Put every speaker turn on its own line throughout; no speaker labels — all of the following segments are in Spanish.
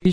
Y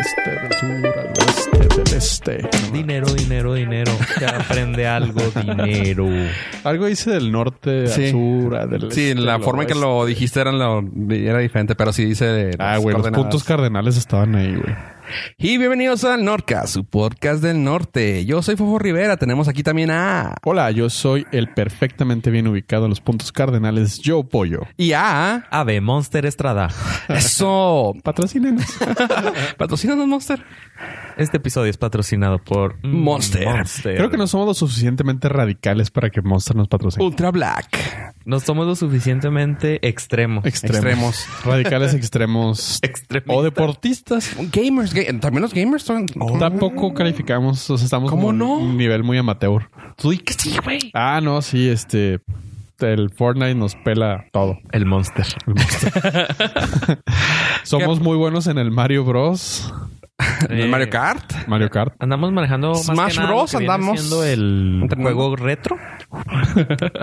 este, del sur al oeste, del este.
Dinero, dinero, dinero. Se aprende algo, dinero.
Algo hice del norte
Sí.
al sur, ah, del
Sí,
este,
la
al
forma en que
oeste.
lo dijiste era, la- era diferente, pero sí dice.
Ah,
las
güey, los
coordenadas.
puntos cardenales estaban ahí, güey.
Y bienvenidos al Nordcast, su podcast del norte. Yo soy Fofo Rivera. Tenemos aquí también a.
Hola, yo soy el perfectamente bien ubicado en los puntos cardenales, yo pollo.
Y a.
Ave Monster Estrada.
Eso.
Patrocínanos.
Patrocínanos, Monster.
Este episodio es patrocinado por mm,
Monster.
Creo que no somos lo suficientemente radicales para que Monster nos patrocine.
Ultra Black.
No somos lo suficientemente extremos.
Extremos.
radicales extremos.
Extremistas.
o deportistas.
Gamers. ga- También los gamers son.
Oh. Tampoco calificamos, o sea, estamos
¿Cómo
como en
no?
un nivel muy amateur.
Tú di que sí, güey.
Ah, no, sí, este. El Fortnite nos pela todo.
El Monster.
Somos muy buenos en el Mario Bros.
El Mario Kart.
Mario Kart.
Andamos manejando más
Smash
que nada
Bros,
lo que viene
andamos
siendo el
entrenando.
juego retro,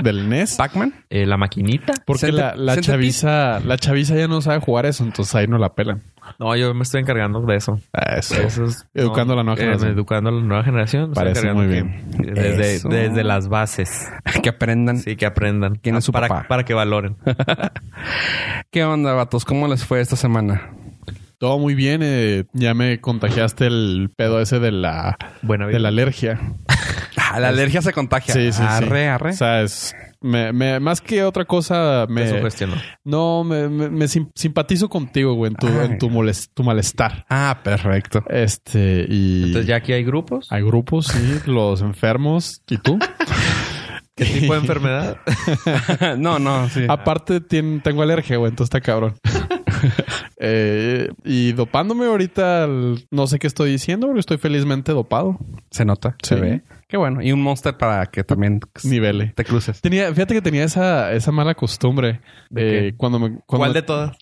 del NES.
Pac-Man.
eh, la maquinita.
Porque
Centre-
la, la
Centipede.
chaviza, la chaviza ya no sabe jugar eso, entonces ahí no la pelan. Ah,
No, yo me estoy encargando de eso.
Eso.
Eso es-
Educando a la nueva
eh,
generación.
educando a la nueva generación. Me estoy
Parece muy
encargando que-
Eso.
Desde, desde las bases.
Que aprendan.
Sí, que aprendan.
¿Quién es su
para,
papá?
para que valoren.
¿Qué onda, vatos? ¿Cómo les fue esta semana?
Todo muy bien. eh, ya me contagiaste el pedo ese de la,
Buena vida.
de la alergia.
Ah, la alergia se contagia.
Sí, sí, sí.
arre, arre.
O sea, es- me- me- más que otra cosa,
Eso
me,
cuestiono.
no, me, me- me sim- simpatizo contigo, güey, en tu,
Ay.
en tu, molest- tu malestar.
Ah, perfecto.
Este, y
Entonces, ya aquí hay grupos.
hay grupos, sí, los enfermos y tú.
¿Qué tipo de enfermedad?
no, no, sí.
Aparte, tien- tengo alergia, güey, entonces está cabrón. Eh, y dopándome ahorita, al- no sé qué estoy diciendo, porque estoy felizmente dopado.
Se nota.
Sí.
Se ve. Qué bueno. Y un monster para que también
Nivele.
te cruces.
E. Tenía, fíjate que tenía esa, esa mala costumbre
¿De
eh,
qué?
cuando me cuando,
¿Cuál
me-
de todas?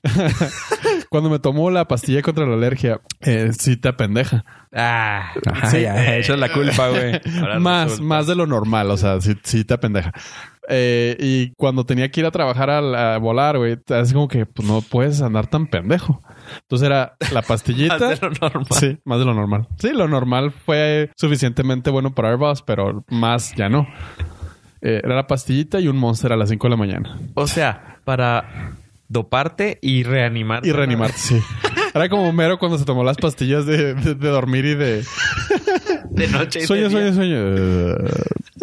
cuando me tomó la pastilla contra la alergia, eh, sí te apendeja.
Ah,
Ajá, ya. Esa es la culpa, güey.
ahora
más,
resulta.
más de lo normal, o sea, sí, sí te apendeja. Eh, y cuando tenía que ir a trabajar a, la- a volar, güey, es como que pues, no puedes andar tan pendejo. Entonces era la pastillita.
Más de lo normal.
Sí, más de lo normal. Sí, lo normal fue suficientemente bueno para Airbus, pero más ya no. Eh, era la pastillita y un monster a las 5 de la mañana.
O sea, para doparte y reanimarte.
Y reanimarte, sí. Era como Homero cuando se tomó las pastillas de, de- de dormir y de...
De noche. y
Sueño,
de
sueño,
día.
sueño. Eh,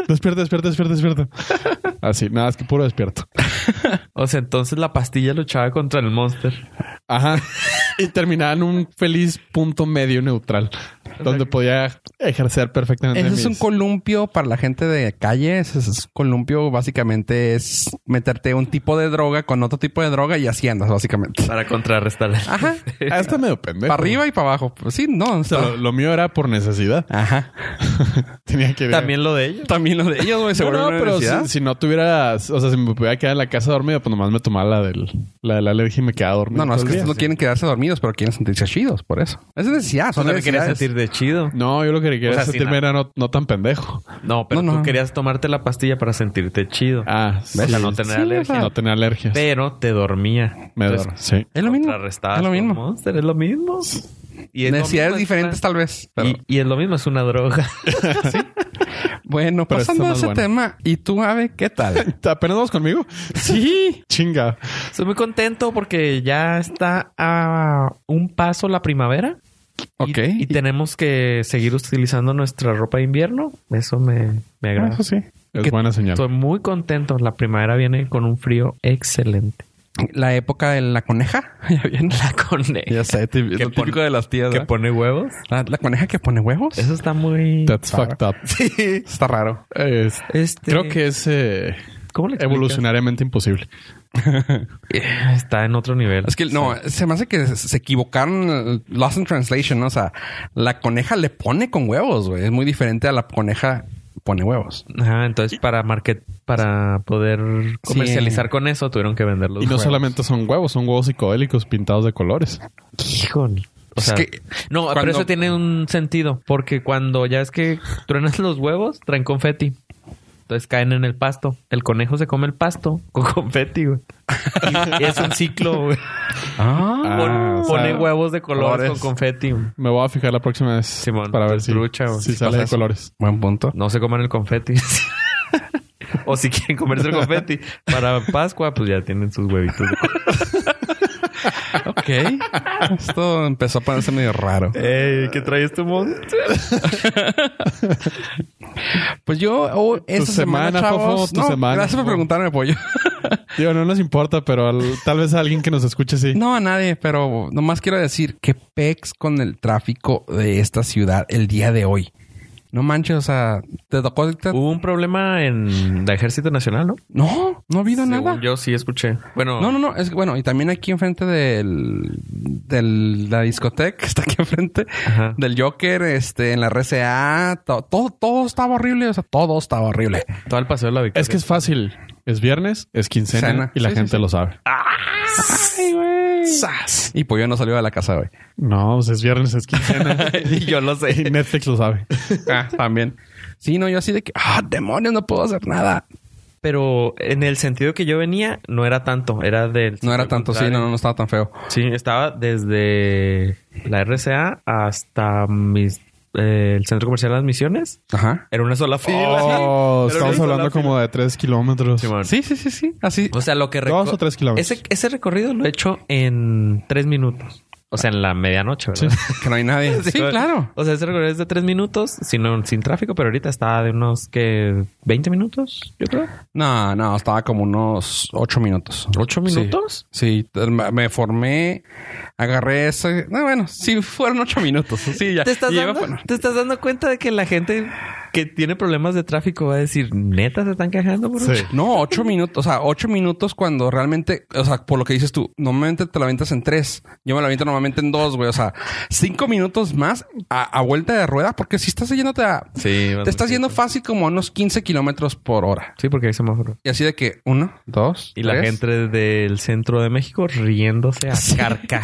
Despierta, despierta, despierta, despierta. Así, nada, es que puro despierto.
O sea, entonces la pastilla luchaba contra el monster.
Ajá. Y terminaba en un feliz punto medio neutral, donde podía ejercer perfectamente
Eso es un
mis-
columpio para la gente de calle. Ese es un columpio básicamente es meterte un tipo de droga con otro tipo de droga y así andas, básicamente.
Para contrarrestar.
Ajá.
Ah, está medio pendejo.
para arriba y para abajo. Pues sí, no.
O sea,
está-
lo, lo mío era por necesidad.
Ajá.
Tenía que ir.
También lo de ellos.
También lo de ellos, güey. Seguro
no,
en la
pero
universidad.
si, si no tuviera, o sea, si me pudiera quedar en la casa dormida, pues nomás me tomaba la del, la de la alergia y me quedaba dormido.
No, no, es
todo
que
el
estos no
día.
quieren quedarse dormidos, pero quieren sentirse chidos, por eso. Es necesidad.
Tú
Son
no te querías
necesidades.
sentir de chido.
No, yo lo que quería
O sea, sí,
sentirme era no, no tan pendejo.
No, pero
No, no.
tú querías tomarte la pastilla para sentirte chido.
Ah,
O sea,
sí.
no tener
Sí,
alergia.
o sea,
No tenía alergia.
Pero te dormía.
pues,
Me
Entonces,
dormí. Sí.
Es lo mismo.
contrarrestabas
Es lo
con
mismo.
Monster, es lo mismo. Y es lo
Necesidades
mismo, es
diferentes,
una-
tal vez. pero-
Y, y es lo mismo, es una droga.
Bueno,
Pero
pasando a
está más
ese
bueno.
tema, ¿y tú, Ave, qué tal?
¿Te apenas vas conmigo? Sí. Chinga.
Estoy muy contento porque ya está a un paso la primavera. Y-
ok.
Y, tenemos que seguir utilizando nuestra ropa de invierno. Eso me, me
Ah,
agrada.
pues,
Eso sí. Es
¿Qué-
buena señal.
Estoy muy contento. La primavera viene con un frío excelente.
La época de la coneja. Ya viene.
La coneja.
Ya sé, típico,
Que pone-
de las tías.
Que
¿verdad?
pone huevos.
La, la coneja que pone huevos.
Eso está muy...
That's fucked up.
Sí.
Está raro.
Es-
Este,
Creo que es eh,
¿Cómo le explicas?
evolucionariamente imposible.
Eh, Está en otro nivel.
Es que no, se me hace que se- se equivocaron eh, Lost in Translation, ¿no? O sea, la coneja le pone con huevos, güey. Es muy diferente a la coneja pone huevos.
Ajá, entonces para market, para poder comercializar con eso, tuvieron que venderlo.
Y no solamente son huevos, son huevos psicodélicos pintados de colores.
Híjole. O
Es
sea,
que
no, pero
cuando-
eso tiene un sentido, porque cuando ya es que truenas los huevos, traen confeti. Entonces caen en el pasto. El conejo se come el pasto con confeti, güey. Y es un ciclo, güey.
Ah,
Pon-
Ah, o
pone
sea,
huevos de colores,
colores.
con confeti. güey.
Me voy a fijar la próxima vez
Simón,
para ver si,
trucha, güey.
si
Sí,
sale
pasa
de
eso.
colores.
buen punto.
No se coman el confeti. o si quieren comerse el confeti para Pascua, pues ya tienen sus huevitos. de colores.
Ok. Esto empezó a ponerse medio raro.
Ey, ¿qué traes tu mon?
Pues yo oh, esta semana,
semana,
chavos,
Fofo, tu
no,
semana,
gracias por
Fofo.
preguntarme, pollo.
Digo, no nos importa, pero al- tal vez a alguien que nos escuche sí.
No, a nadie, pero nomás quiero decir que pex con el tráfico de esta ciudad el día de hoy. No manches, o sea, te tocó. ahorita?
Hubo un problema en el Ejército Nacional, ¿no?
No, no ha habido
Según
nada.
Yo sí escuché. Bueno,
No, no, no. Es que, bueno, y también aquí enfrente del, del la discoteca que está aquí enfrente
Ajá.
del Joker, este, en la RCA, to- todo, todo estaba horrible, o sea, todo estaba horrible.
todo el paseo de la victoria.
Es que es fácil. Es viernes, es quincena
Cena.
y la
Sí, sí,
gente
sí.
lo sabe.
Ah.
Y pues yo no salió de la casa hoy.
No, pues es viernes, es quincena.
y yo lo
y
sé.
Netflix lo sabe.
Ah, también. Sí, no, yo así de que, ah, demonios, no puedo hacer nada.
Pero en el sentido que yo venía, no era tanto. Era del.
No era tanto, sí, no, no estaba tan feo.
Sí, estaba desde la RCA hasta mis, eh, el Centro Comercial de las Misiones.
Ajá.
Era una sola fila.
Oh,
Pero no
estamos
hizo la
hablando como de tres kilómetros.
Simón.
Sí, sí, sí, sí. Así.
O sea, lo que reco-
Dos o tres kilómetros.
Ese, ese recorrido lo he hecho en tres minutos. O sea, en la medianoche, ¿verdad?
Que no hay nadie. Sí, claro.
O sea, ese recorrido es de tres minutos, sino, sin tráfico, pero ahorita está de unos que 20 minutos, yo creo.
No, no, estaba como unos ocho minutos.
¿Ocho
Sí.
minutos?
Sí, me me formé, agarré ese. No, bueno, sí fueron ocho minutos. Sí, ya.
¿Te estás,
Y iba
dando,
por-
¿Te estás dando cuenta de que la gente que tiene problemas de tráfico va a decir, neta, se están quejando por
Sí.
No, ocho minutos. O sea, ocho minutos cuando realmente, o sea, por lo que dices tú, normalmente te la aventas en tres. Yo me la aviento normalmente en dos, güey. O sea, cinco minutos más a, a vuelta de rueda, porque si estás yéndote a.
Sí,
Te estás yendo fácil como a unos 15 kilómetros por hora.
Sí, porque hay semáforos.
Y así de que uno, dos.
Y la
tres.
gente del centro de México riéndose a carcajada.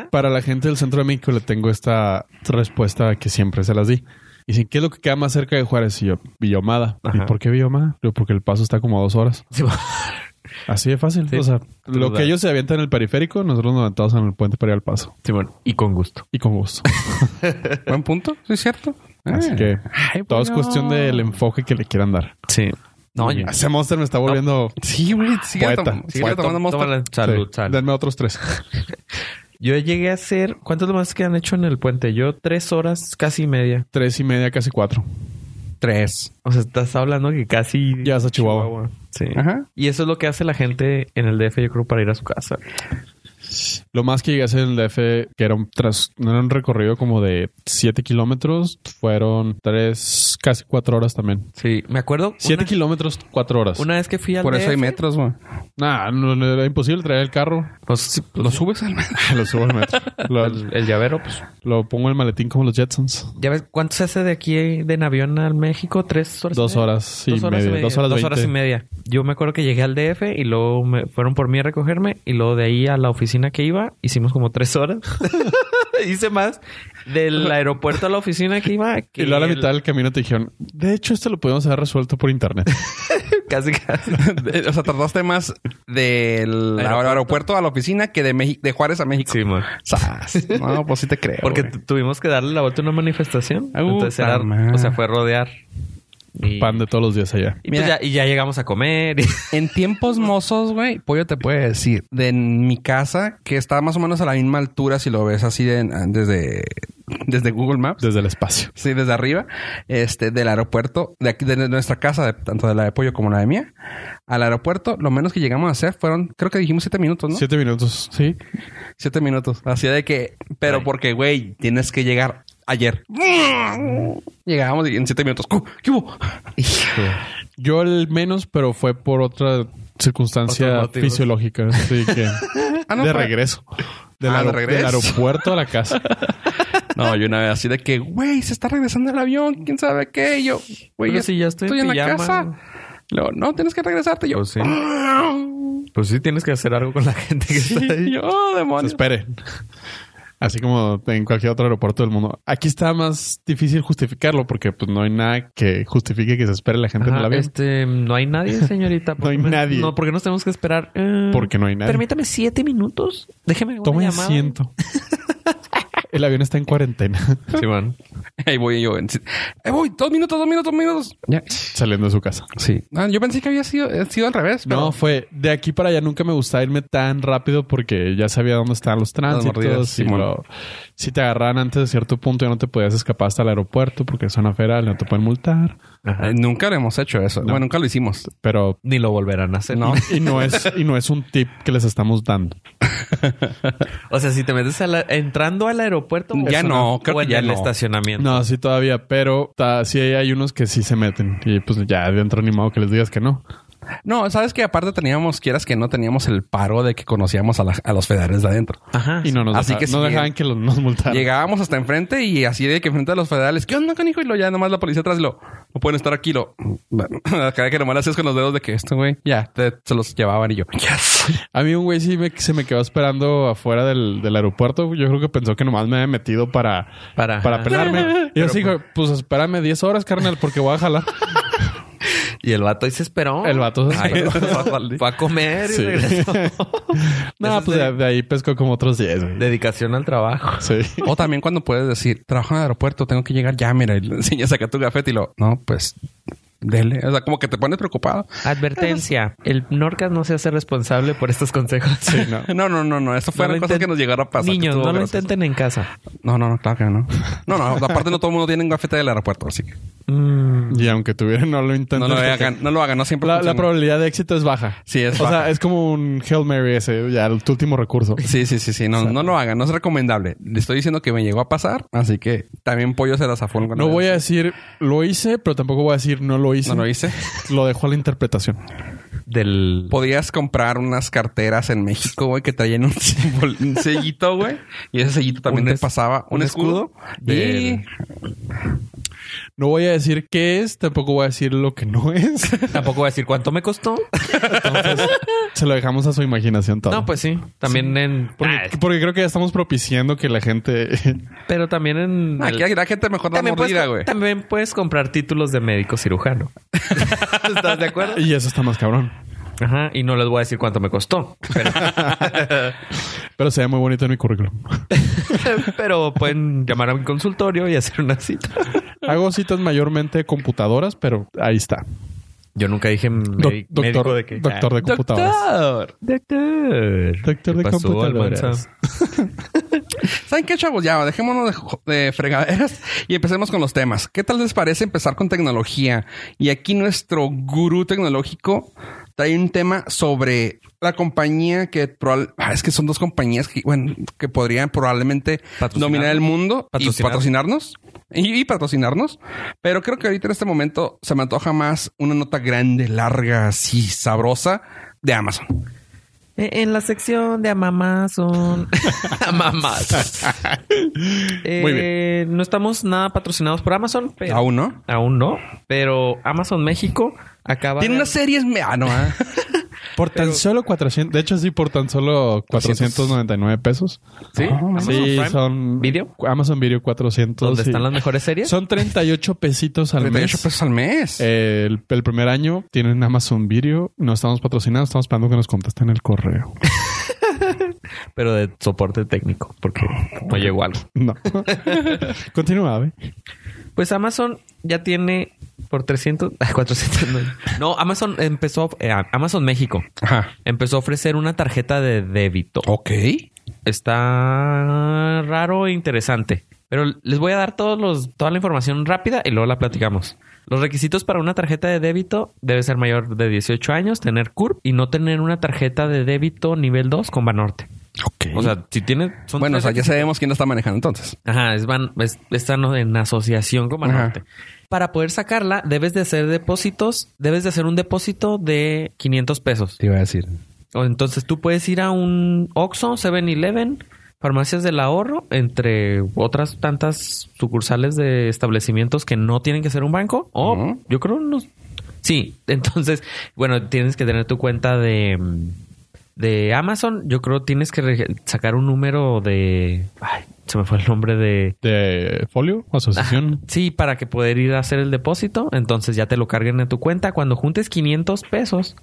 Pero para la gente del centro de México le tengo esta respuesta que siempre se las di. Dicen, ¿qué es lo que queda más cerca de Juárez? Y yo, Villomada. ¿Y
Ajá.
por qué Villomada? Digo, porque el paso está como a dos horas.
Sí,
Así de fácil.
Sí.
O sea, lo
Total.
que ellos se avientan en el periférico, nosotros nos aventamos en el puente para ir al paso.
bueno, y con gusto.
Y con gusto.
Buen punto, sí es cierto.
Así
Ah.
que
Ay,
todo es
bueno.
cuestión del em- enfoque que le quieran dar.
Sí. No, yo-
Ese monster me está volviendo...
Sí, güey. Sigue,
Poeta,
tom- sigue
poeta.
tomando monster.
Tómala. Salud,
Sí.
salud.
Denme otros tres.
Yo llegué a hacer... ¿Cuánto es lo más que han hecho en el puente? Yo tres horas, casi y media.
tres y media, casi cuatro.
Tres.
O sea, estás hablando que casi...
Ya vas a Chihuahua.
Sí.
Ajá.
Y eso es lo que hace la gente en el DF, yo creo, para ir a su casa.
Lo más que llegué a hacer en el DF, que era un, tras, no era un recorrido como de siete kilómetros, fueron tres, casi cuatro horas también.
Sí. Me acuerdo...
Siete
una-
kilómetros, cuatro horas.
Una vez que fui al
Por eso hay
DF,
metros, güey.
Nah, no, no, era imposible traer el carro.
pues, sí, pues,
Lo subes al metro.
Lo subo al metro. Lo,
el, el llavero, pues.
lo pongo en el maletín como los Jetsons.
¿Ya ves cuánto se hace de aquí de en avión al México? ¿Tres horas? y
Dos
media?
horas y media. Dos horas veinte.
y media. Yo me acuerdo que llegué al DF y luego me fueron por mí a recogerme y luego de ahí a la oficina que iba hicimos como tres horas. Hice más del aeropuerto a la oficina que iba. que
Y luego a la
el-
mitad del camino te dijeron, de hecho, esto lo podemos haber resuelto por internet.
Casi, casi.
o sea, tardaste más del
Aeropuerto.
aeropuerto, a la oficina que de, Meji- de Juárez a México. Sas. No, pues sí te creo.
Porque
güey.
tu- tuvimos que darle la vuelta a una manifestación.
uh,
Ah,
Entonces
puta
era,
madre.
o sea, fue rodear. Y,
Pan de todos los días allá.
y pues
Mira.
ya, y ya llegamos a comer.
en tiempos mozos, güey, Pollo te puede decir de en mi casa que está más o menos a la misma altura si lo ves así de- desde, desde Google Maps.
Desde el espacio.
Sí, desde arriba, este, del aeropuerto, de aquí, de nuestra casa, de- tanto de la de pollo como la de mía, al aeropuerto, lo menos que llegamos a hacer fueron, creo que dijimos siete minutos, ¿no? Siete,
Siete minutos. Sí.
minutos. Así de que, pero
Ay.
porque, güey, tienes que llegar ayer. Llegábamos y en siete minutos. ¡cu! ¿Qué hubo? Ah,
Yo el menos, pero fue por otra circunstancia
Otros motivos.
fisiológica. Así que
Ah, no,
de
fue-
regreso. Del,
Ah, ¿de
aero-
regreso?
del aeropuerto a la casa.
No, yo una vez así de que, güey, se está regresando el avión, quién sabe qué. Y yo, güey,
Pero si ya estoy en pijama, güey.
Luego, no, tienes que regresarte. Y Yo,
Pues sí. Pues sí tienes que hacer algo con la gente que está
Y
ahí.
yo, "Oh,
Se
demonios.
espere. Así como en cualquier otro aeropuerto del mundo. Aquí está más difícil justificarlo porque pues no hay nada que justifique que se espere la gente en el
Ajá,
avión.
este, no hay nadie, señorita. ¿Por
No hay
qué me-
nadie.
No, porque nos tenemos que esperar. Eh,
Porque no hay nadie.
Permítame siete minutos. Déjeme una
Tome
llamada.
asiento. el avión está en cuarentena.
Simón.
Ahí voy yo. en- Ahí voy, dos minutos, dos minutos, dos minutos.
Ya.
Saliendo de su casa.
Sí.
Ah, yo pensé que había sido, eh, sido al revés. pero-
No, fue de aquí para allá. Nunca me gustaba irme tan rápido porque ya sabía dónde estaban los
mordidas,
tránsitos. y
Simón.
lo- si te agarraban antes de cierto punto, ya no te podías escapar hasta el aeropuerto porque es zona federal, no te pueden multar.
Eh, nunca lo hemos hecho eso. Bueno, nunca lo hicimos.
Pero
Ni lo volverán a hacer.
No.
y no es y no es un tip que les estamos dando.
O sea, si te metes a la- entrando al aeropuerto,
Ya
o-
no, creo
o
que
en
ya
el
no.
estacionamiento.
No, sí todavía, pero ta- sí hay, hay unos que sí se meten y pues ya adentro ni modo que les digas que no.
No, sabes que aparte teníamos, quieras que no, teníamos el paro de que conocíamos a, la- a los federales de adentro.
Ajá.
Y no nos
Así
deja-
que
no
sí,
dejaban
eh.
que los, nos multaran.
Llegábamos hasta enfrente y así de que frente a los federales, ¿qué onda, canijo? Y lo ya nomás la policía atrás lo, no pueden estar aquí, lo, la cara que nomás le hacías con los dedos de que esto, güey, ya, te- se los llevaban y yo, yes.
A mí un güey sí me- se me quedó esperando afuera del, del aeropuerto. Yo creo que pensó que nomás me había metido para,
Para-
para pelarme. Y yo
Pero,
así, güey, pues espérame 10 horas, carnal, porque voy a jalar.
Y el vato ahí se esperó.
pues- El vato se
Ay,
esperó.
fue- Fue a comer y
Sí.
regresó.
no,
Eso es
pues de,
de-
de ahí pescó como otros 10. güey.
Dedicación al trabajo.
Sí.
O también cuando puedes decir, trabajo en el aeropuerto, tengo que llegar ya, mira, y le enseñas acá tu gafete y lo, no, pues, dele. O sea, como que te pones preocupado.
Advertencia. El Norcas no se hace responsable por estos consejos.
no.
No, no, no, no, eso
No
fueron
lo
cosas
inten-
que nos llegaron a pasar. que
Niños,
estuvo
no lo
gracioso.
intenten en casa.
No, no, no, claro que no. No, no, aparte no todo el mundo tiene un gafete del aeropuerto, así que
Mm,
Y aunque tuvieran, no lo
no
intentan.
lo hagan, no lo hagan, no siempre.
La, la
funciona.
probabilidad de éxito es baja.
Sí, es
O sea,
baja.
es como un Hail Mary ese, ya el tu último recurso.
Sí, sí, sí, sí. No, no lo hagan. No es recomendable. Le estoy diciendo que me llegó a pasar. Así que también Pollo se las zafó. en cuando-
No voy a decir lo hice, pero tampoco voy a decir no lo hice.
No lo hice.
Lo dejo a la interpretación.
del.
Podías comprar unas carteras en México, güey, que traían un, símbolo- un sellito, güey. Y ese sellito también
Un
le
des-
pasaba un,
un
escudo.
del-
No voy a decir qué es, tampoco voy a decir lo que no es.
Tampoco voy a decir cuánto me costó.
Se lo dejamos a su imaginación todo.
No, pues sí. También en.
Porque,
Ah, es-
porque creo que ya estamos propiciando que la gente...
Pero también en.
Y aquí hay- la gente mejor da
también,
mordida, ah, güey.
puedes, también puedes comprar títulos de médico cirujano. ¿Estás de acuerdo?
y eso está más cabrón.
Ajá. Y no les voy a decir cuánto me costó. Pero,
Pero se ve muy bonito en mi currículum.
pero pueden llamar a mi consultorio y hacer una cita.
Hago citas mayormente de computadoras, pero ahí está.
Yo nunca dije
Doc-
medi- médico
doctor,
de que.
doctor de computadoras.
Doctor. Doctor.
Doctor de
¿Qué pasó,
computadoras.
Almanza?
¿Saben qué, chavos? Ya, dejémonos de jo- de, fregaderas y empecemos con los temas. ¿Qué tal les parece empezar con tecnología? Y aquí nuestro gurú tecnológico trae un tema sobre la compañía que probablemente... es que son dos compañías que, bueno, que podrían probablemente
Patrocinar.
dominar el mundo y
Patrocinar.
patrocinarnos. Y, y patrocinarnos. Pero creo que ahorita en este momento se me antoja más una nota grande, larga, así sabrosa de Amazon.
Eh, En la sección de Amamazon. Amamazon. Eh,
Muy
No estamos nada patrocinados por Amazon, pero.
Aún no.
Aún no. Pero Amazon México acaba.
Tiene
de-
unas series... me- Ah, no, ah.
Por tan solo 400... De hecho, sí, por tan solo 499 pesos.
¿Sí? Amazon
Sí,
Prime
son...
Video.
Amazon Video 400.
¿Dónde
Oh, sí.
están las mejores series?
Son 38 pesitos al
38
mes. Eh,
pesos al mes.
El, el primer año tienen Amazon Video. No estamos patrocinados, estamos esperando que nos contesten el correo.
Pero de soporte técnico, porque no llegó algo.
No. Continúa, Abe.
Pues Amazon ya tiene por 300, ay, 400. No, No, Amazon empezó, eh, Amazon México
Ajá.
empezó a ofrecer una tarjeta de débito.
Ok.
Está raro e interesante. Pero les voy a dar todos los, toda la información rápida y luego la platicamos. Los requisitos para una tarjeta de débito debe ser mayor de 18 años, tener CURP y no tener una tarjeta de débito nivel 2 con Banorte.
Ok.
O sea, si tiene... son
bueno, o
tres
sea, ya
requisitos.
sabemos quién la está manejando entonces.
Ajá, es van, es- están en asociación con Banorte. Para poder sacarla, debes de hacer depósitos, debes de hacer un depósito de 500 pesos.
Te iba a decir.
O entonces tú puedes ir a un Oxxo, 7-Eleven, farmacias del ahorro, entre otras tantas sucursales de establecimientos que no tienen que ser un banco. O
Ujú.
yo creo unos. Sí, entonces, bueno, tienes que tener tu cuenta de, mm, de Amazon. Yo creo tienes que reg- sacar un número de. Ay, se me fue el nombre de.
De folio, asociación.
Sí, para que poder ir a hacer el depósito, entonces ya te lo carguen en tu cuenta. Cuando juntes 500 pesos,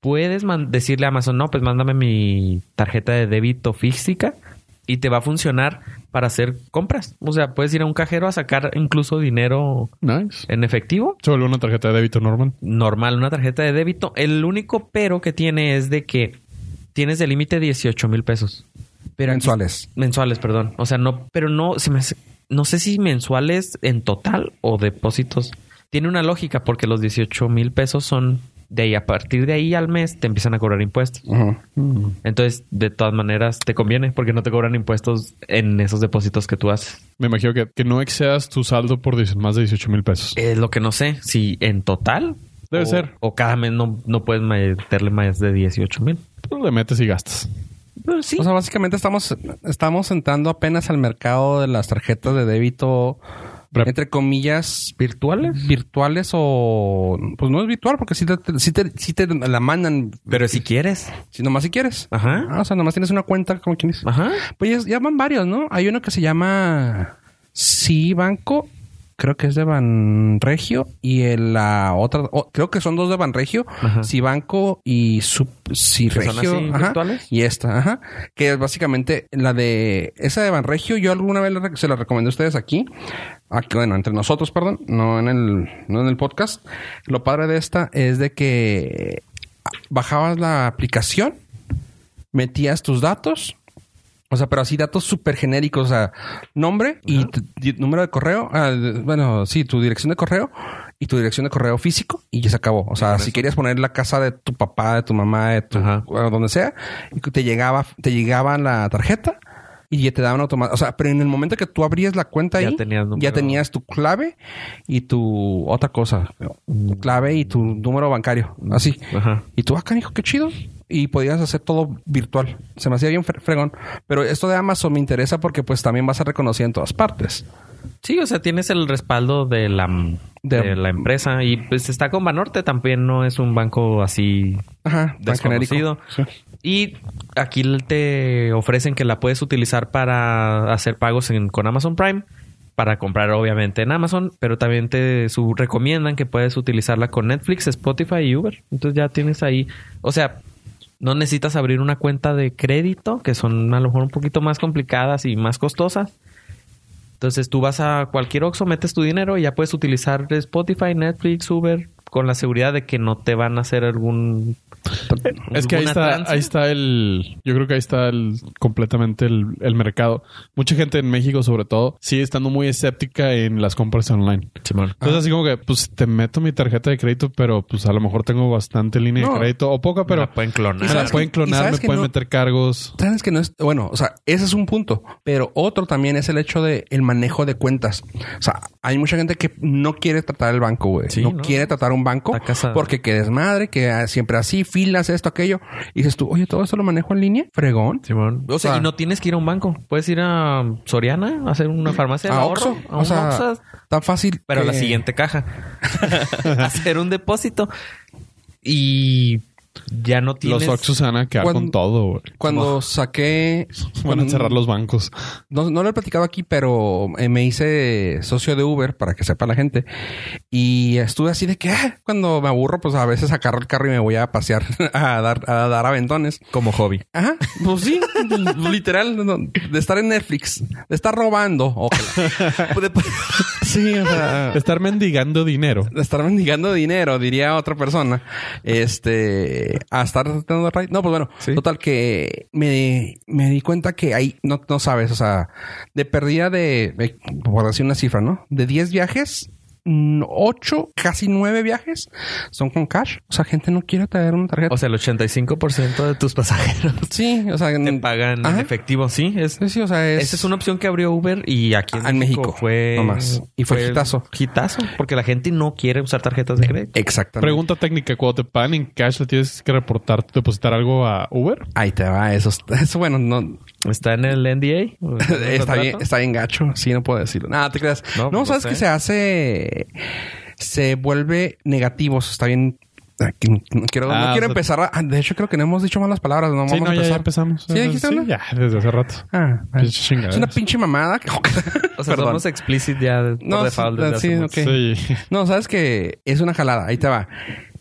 puedes man- decirle a Amazon, no, pues mándame mi tarjeta de débito física y te va a funcionar para hacer compras. O sea, puedes ir a un cajero a sacar incluso dinero
Nice.
en efectivo.
Se vuelve una tarjeta de débito normal.
Normal, una tarjeta de débito. El único pero que tiene es de que tienes de límite 18 mil pesos. Pero aquí-
mensuales.
Mensuales, perdón. O sea, no, pero no, se me hace- no sé si mensuales en total o depósitos. Tiene una lógica porque los 18 mil pesos son de ahí. A partir de ahí al mes te empiezan a cobrar impuestos.
Ujú.
Entonces, de todas maneras, te conviene porque no te cobran impuestos en esos depósitos que tú haces.
Me imagino que, que no excedas tu saldo por dieci- más de 18 mil pesos.
Es lo que no sé, si en total.
Debe
o-
ser.
O cada mes no, no puedes meterle más de 18 mil.
Pues le metes y gastas.
Pero sí.
O sea, básicamente estamos, estamos entrando apenas al mercado de las tarjetas de débito,
Rep-
entre comillas,
¿Virtuales?
virtuales o... Pues no es virtual porque si te, sí te, sí te la mandan,
Pero si quieres.
si nomás si quieres.
Ajá.
Ah, o sea, nomás tienes una cuenta como quien dice.
Ajá.
Pues ya, ya van varios, ¿no? Hay uno que se llama Sí Banco, creo que es de Banregio y el, la otra, o- creo que son dos de Banregio,
Ajá.
Sí Banco y Sub, Sí
Que son
Regio,
así,
ajá,
virtuales.
y esta, ajá, que es básicamente la de esa de Banregio, yo alguna vez la rec- se la recomendé a ustedes aquí. Aquí, bueno, entre nosotros, perdón, no en el no en el podcast. Lo padre de esta es de que ah, bajabas la aplicación, metías tus datos, o sea, pero así datos súper genéricos, o sea, nombre y tu- di- número de correo, ah, de- bueno, sí, tu dirección de correo y tu dirección de correo físico y ya se acabó. O sea, si querías poner la casa de tu papá, de tu mamá, de tu
Ajá.
o donde sea, y que te llegaba, te llegaba la tarjeta y ya te daban automático. O sea, pero en el momento que tú abrías la cuenta
Ya
ahí,
tenías
ya
número.
tenías tu clave y tu otra cosa, tu clave y tu número bancario, así.
Ajá.
Y tú, ah, canijo, qué chido. Y podías hacer todo virtual. Se me hacía bien fre- fregón. Pero esto de Amazon me interesa porque pues también vas a reconocer en todas partes.
Sí, o sea, tienes el respaldo de la,
De-
de, la empresa y pues está con Banorte, también no es un banco así
Ajá, tan genérico.
desconocido. Y aquí te ofrecen que la puedes utilizar para hacer pagos en- con Amazon Prime, para comprar obviamente en Amazon, pero también te su- recomiendan que puedes utilizarla con Netflix, Spotify y Uber. Entonces ya tienes ahí, o sea, no necesitas abrir una cuenta de crédito, que son a lo mejor un poquito más complicadas y más costosas. Entonces tú vas a cualquier Oxxo, metes tu dinero y ya puedes utilizar Spotify, Netflix, Uber con la seguridad de que no te van a hacer algún
Es que ahí
¿Alguna
está,
tranza?
ahí está el, yo creo que ahí está el, completamente el, el mercado. Mucha gente en México, sobre todo, sigue estando muy escéptica en las compras online. Entonces,
Ah.
así como que, pues te meto mi tarjeta de crédito, pero pues a lo mejor tengo bastante línea
No.
de crédito o poca, pero pues,
Me la pueden
me
clonar.
la
¿Sabes
pueden
que- y
clonar,
sabes
me
que
pueden
no-
meter cargos.
Sabes que no es, bueno, o sea, ese es un punto, pero otro también es el hecho de el manejo de cuentas. O sea, hay mucha gente que no quiere tratar el banco, güey.
Sí,
no,
¿no?
quiere tratar un banco
Está casada.
porque que desmadre, que ah, siempre así, filas, esto, aquello. Y dices tú, oye, todo esto lo manejo en línea, fregón.
Simón. O sea,
Ah.
y no tienes que ir a un banco. Puedes ir a Soriana, a hacer una farmacia de
A
ahorro,
Oxxo,
a
o
un
sea,
Oxxo,
tan fácil.
pero a la
que-
siguiente caja. hacer un depósito. Y ya no tienes...
Los Oxxos se van a quedar
Cuando-
con todo, güey.
Cuando saqué...
Van a
cuando-
cerrar los bancos.
No, no lo he platicado aquí, pero eh, me hice socio de Uber para que sepa la gente. Y estuve así de que ah, cuando me aburro, pues a veces agarro el carro y me voy a pasear a dar, a dar aventones.
Como hobby.
Ajá, pues sí, literal, no, de estar en Netflix, de estar robando. o que- de- sí, o sea,
Estar mendigando dinero.
de estar mendigando dinero, diría otra persona, este, a estar tratando de raid. No, pues bueno, total que me, me di cuenta que ahí no, no sabes, o sea, de pérdida de, eh, por decir una cifra, ¿no? De 10 viajes, 8, casi 9 viajes son con cash. O sea, gente no quiere traer una tarjeta. Pues
O sea, el 85% de tus pasajeros
sí, o sea,
te pagan en
Ajá.
efectivo. Sí, es...
Sí, sí, o sea, Mm. Ah. es,
Esa es una opción que abrió Uber y aquí en,
Ah, en
México,
México,
fue...
nomás. Y fue hitazo.
Hitazo, porque la gente no quiere usar tarjetas de crédito.
Exactamente.
Pregunta técnica, cuando te pagan en cash, ¿le tienes que reportar, depositar algo a Uber?
Ahí te va, eso. está- eso, bueno, no.
¿Está en el NDA? ¿O en el
está, bien,
contrato?
está bien gacho. Sí, no puedo decirlo. Nada, te creas. No,
No,
pues,
no
sabes
sé.
que se hace. Se vuelve negativo. Está bien. Aquí no- no quiero,
Ah,
no
o
quiero
sea-
empezar. a- ah, de hecho, creo que no hemos dicho malas palabras. No,
Sí,
vamos
no,
a
ya,
empezar.
ya empezamos.
¿Sí dijiste
Sí,
algo?
ya, desde hace rato.
Ah, vale.
Pinches chingaderas.
es una pinche mamada.
O sea,
Perdón.
somos explicit ya de- por
No,
default desde
sí,
hace
no,
mucho.
¿qué?
Sí.
No, sabes que es una jalada. Ahí te va.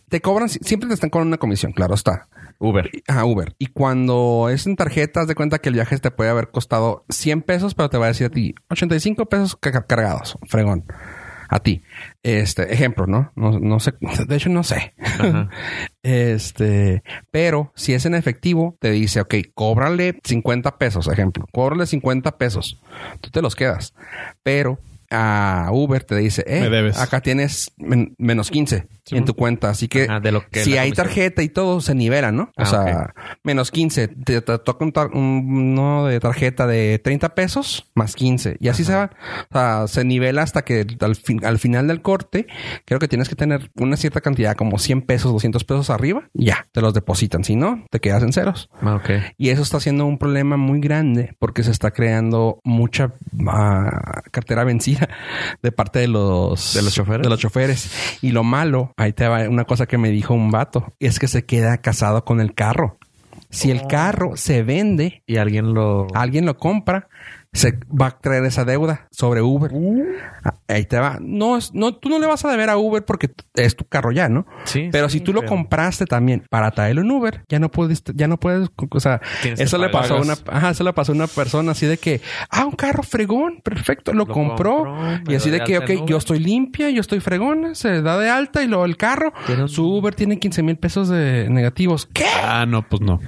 Te cobran, si- siempre te están cobrando una comisión, claro está.
Uber.
Ajá, Uber. Y cuando es en tarjeta, haz de cuenta que el viaje te puede haber costado 100 pesos, pero te va a decir a ti 85 pesos ca- cargados, fregón. A ti. Este, ejemplo, ¿no? No, no sé. De hecho, no sé.
Ajá.
Este, pero si es en efectivo, te dice, ok, cóbrale 50 pesos, ejemplo, cóbrale 50 pesos, tú te los quedas, pero a Uber te dice, eh,
Me debes.
acá tienes men- menos 15
Sí,
en
bueno.
tu cuenta, así que,
Ajá, de lo que
si
la
hay
comisión.
tarjeta y todo, se nivela, ¿no? o
Ah,
sea, menos 15, te, te toca un tar- un- uno de tarjeta de 30 pesos más 15 y así se va, o sea, se nivela hasta que al, fin- al final del corte, creo que tienes que tener una cierta cantidad, como 100 pesos, 200 pesos arriba, y ya, te los depositan, si no, te quedas en ceros.
Ah, ok.
Y eso está siendo un problema muy grande porque se está creando mucha ah, cartera vencida de parte de los,
¿De los choferes?
de los choferes. Y lo malo, ahí te va una cosa que me dijo un vato, es que se queda casado con el carro. Si
Oh.
el carro se vende,
Y alguien lo...
alguien lo compra, se va a traer esa deuda sobre Uber.
Uh.
Ah, Ahí te va. No, es- no, tú no le vas a deber a Uber porque t- es tu carro ya, ¿no?
Sí,
Pero
sí,
si tú lo
pero-
compraste también para traerlo en Uber, ya no pudiste, ya no puedes, o sea,
Tienes que
eso le
pagar.
pasó a una, ajá, eso le pasó a una persona así de que, ah, un carro fregón, perfecto, lo,
Lo
compró,
compró, me
y así
doy
de que,
alta en
ok,
Uber.
yo estoy limpia, yo estoy fregona, se da de alta y luego el carro,
Tiene un-
su Uber tiene 15 mil pesos de negativos. ¿Qué?
Ah, no, pues no.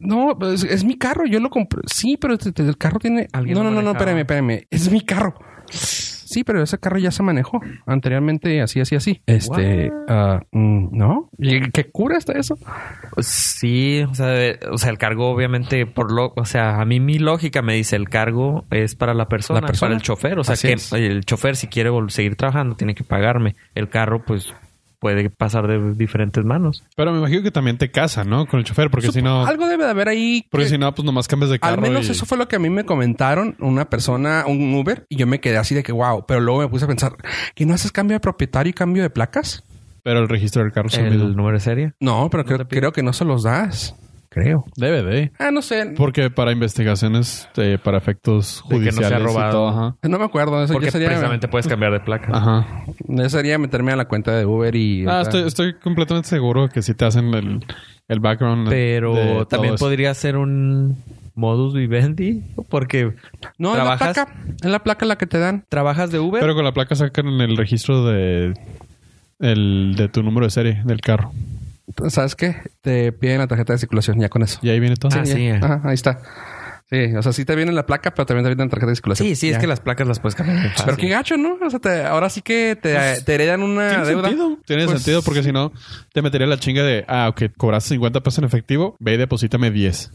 No, es, es mi carro, yo lo compré. Sí, pero te- te- el carro tiene.
Alguien
No, no,
lo
no, no,
manejaba.
espérame, espérame. Es mi carro. Sí, pero ese carro ya se manejó anteriormente, así, así, así. Este, ah, mm, ¿no? ¿Y ¿Qué cura está eso?
Sí, o sea, de- o sea, el cargo obviamente por lo... O sea, a mí mi lógica me dice el cargo es para la persona,
La persona.
para el chofer. O sea,
Así
que
es.
el chofer si quiere vol- seguir trabajando tiene que pagarme. El carro pues puede pasar de diferentes manos.
Pero me imagino que también te casan, ¿no? Con el chofer, porque si no.
Algo debe de haber ahí.
Porque
que-
si no, pues nomás cambias de carro.
Al menos
y-
eso fue lo que a mí me comentaron una persona, un Uber, y yo me quedé así de que wow, pero luego me puse a pensar, ¿que no haces cambio de propietario y cambio de placas?
Pero el registro del carro es el
El
mismo.
número de serie.
No, pero creo, creo que no se los das. Creo.
Debe de.
Ah, no sé.
Porque para investigaciones, eh, para efectos
De que no
judiciales
sea
y
robado.
todo, ajá.
No me acuerdo. Eso
Porque
yo sería, pues,
precisamente puedes cambiar de placa.
Ajá.
yo sería meterme a la cuenta de Uber y.
Ah, estoy, estoy completamente seguro que si te hacen el, el background. de
Pero
todo
también
eso.
podría ser un modus vivendi porque
No, es la
trabajas
placa. Es la placa la que te dan.
trabajas de Uber.
Pero con la placa sacan el registro de. El, de tu número de serie del carro.
¿Sabes qué? Te piden la tarjeta de circulación ya con eso.
Y ahí viene todo.
Ah, sí.
Ya. Ajá, ahí está. Sí, o sea, sí te viene la placa, pero también te viene la tarjeta de circulación.
sí, sí, es
Ya.
que las placas las puedes cambiar. bien
Pero
fácil.
qué gacho, ¿no? O sea, te- ahora sí que te, te heredan una
Pues, Tiene
deuda.
sentido. Tiene
Pues,
sentido porque si no, te metería la chinga de, ah, ok, cobraste 50 pesos en efectivo, ve y deposítame 10.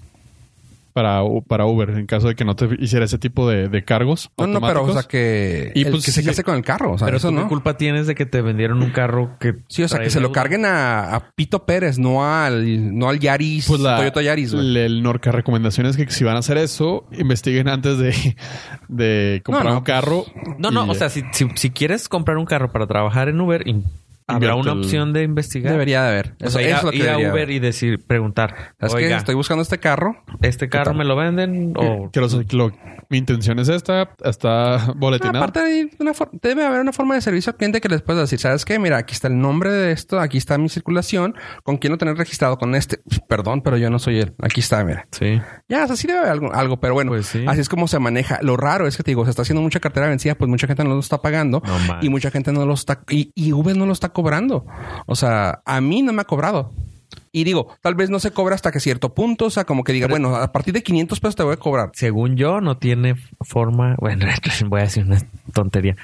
Para, U- para Uber, en caso de que no te hiciera ese tipo de, de cargos.
No, no, pero o sea que.
Y
el
pues
que se
sí.
case con el carro. O sea,
Pero
eso
tú qué
no.
culpa tienes de que te vendieron un carro que
Sí, o sea,
trae
que se lo
deuda?
carguen a, a Pito Pérez, no al, no al Yaris,
Pues la,
Toyota Yaris, güey.
el, el Norca recomendación es que si van a hacer eso, investiguen antes de, de comprar
No, pues, no,
un carro.
No, no,
y-
o sea, si, si, si quieres comprar un carro para trabajar en Uber, in- habrá una
el-
opción de investigar.
Debería de haber.
O sea, ir a,
es lo que
ir a
debería
Uber
haber.
y decir, preguntar,
¿Sabes qué?
oiga,
Estoy buscando este carro.
¿este carro me lo venden?
oh.
O
que los- que lo- mi intención es esta, está boletinada.
Ah, Aparte, hay una for- debe haber una forma de servicio al cliente que les puedas decir, ¿sabes qué? Mira, aquí está el nombre de esto, aquí está mi circulación, ¿con quién lo tenés registrado? Con este. Perdón, pero yo no soy él. Aquí está, mira.
sí.
Ya, o sea, sí debe haber algo, algo, pero bueno,
Pues sí.
así es como se maneja. Lo raro es que te digo, se está haciendo mucha cartera vencida, pues mucha gente no lo está pagando
No manches.
y mucha gente no lo está, y, y Uber no lo está cobrando. O sea, a mí no me ha cobrado. Y digo, tal vez no se cobra hasta que cierto punto, o sea, como que diga, bueno, a partir de 500 pesos te voy a cobrar.
según yo, no tiene forma. Bueno, voy a decir una tontería.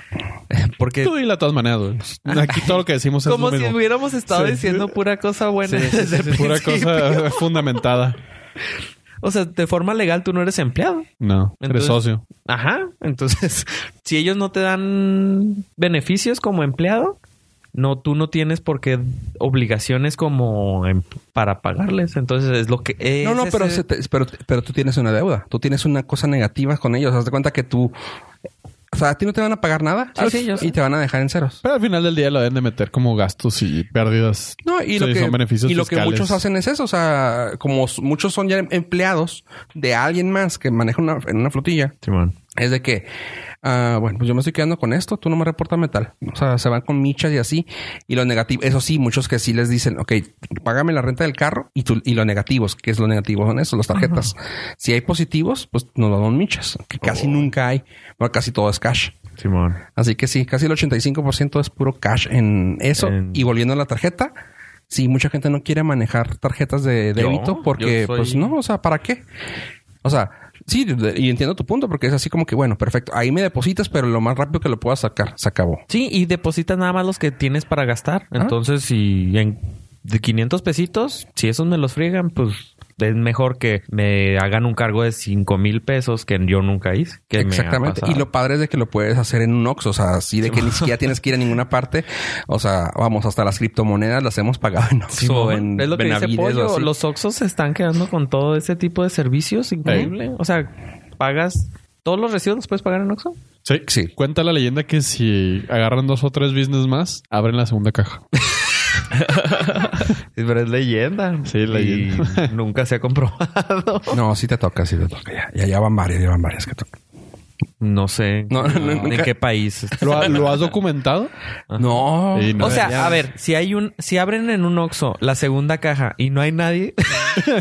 Porque
Tú y de todas maneras, güey. Aquí todo lo que decimos es
como
lo
si
mismo.
hubiéramos estado
Sí.
diciendo pura cosa buena. desde el
Pura
principio.
cosa fundamentada.
O sea, de forma legal tú no eres empleado.
No, eres
Entonces-
socio.
Ajá. Entonces, si ellos no te dan beneficios como empleado, no, tú no tienes por qué obligaciones como em- para pagarles. Entonces es lo que es.
No, no, pero,
ese-
se te- pero, pero tú tienes una deuda. Tú tienes una cosa negativa con ellos. Haz de cuenta que tú... O sea, a ti no te van a pagar nada
Sí, sí, yo sé.
y te van a dejar en ceros.
Pero al final del día lo deben de meter como gastos y pérdidas.
No, y
Sí,
lo, que,
son beneficios
y lo que
fiscales.
muchos hacen es eso. O sea, como s- muchos son ya em- empleados de alguien más que maneja una, en una flotilla,
Simón.
es de que, ah, bueno, pues yo me estoy quedando con esto, tú no me reportas metal. O sea, se van con michas y así. Y lo negativo, eso sí, muchos que sí les dicen, ok, págame la renta del carro y, tú, y los negativos, que es lo negativo son eso, las tarjetas. Si hay positivos, pues nos lo dan michas, que casi nunca hay, pero casi todo es cash.
Simón.
Así que sí, casi el 85% es puro cash en eso.
En-
Y volviendo a la tarjeta, sí, mucha gente no quiere manejar tarjetas de débito
Yo
porque,
soy-
pues no, o sea, ¿para qué? O sea, sí, de- y entiendo tu punto porque es así como que, bueno, perfecto, ahí me depositas, pero lo más rápido que lo puedas sacar, se acabó.
Sí, y depositas nada más los que tienes para gastar.
Ah.
Entonces, si en de 500 pesitos, si esos me los friegan, pues es mejor que me hagan un cargo de 5 mil pesos que yo nunca hice. que me ha
Exactamente. Y
pasado.
lo padre es de que lo puedes hacer en un Oxxo, o sea, así de que ni siquiera tienes que ir a ninguna parte. O sea, vamos, hasta las criptomonedas las hemos pagado en Oxxo,
Simón,
en
es lo que dice
Benavides o
Pollo.
así.
Los Oxxos se están quedando con todo ese tipo de servicios. Increíble. O sea, pagas... ¿Todos los residuos los puedes pagar en Oxxo?
Sí.
Sí.
Cuenta la leyenda que si agarran dos o tres business más, abren la segunda caja.
Pero es leyenda.
Sí, leyenda.
Y nunca se ha comprobado.
No, sí te toca, sí te toca. Ya, ya, ya van varias, ya van varias que tocan.
No sé.
No, no,
¿En
nunca.
qué país?
¿Lo, ha- lo has documentado?
No.
Y no
O sea,
deberías.
a ver, si hay un, si abren en un Oxxo la segunda caja y no hay nadie,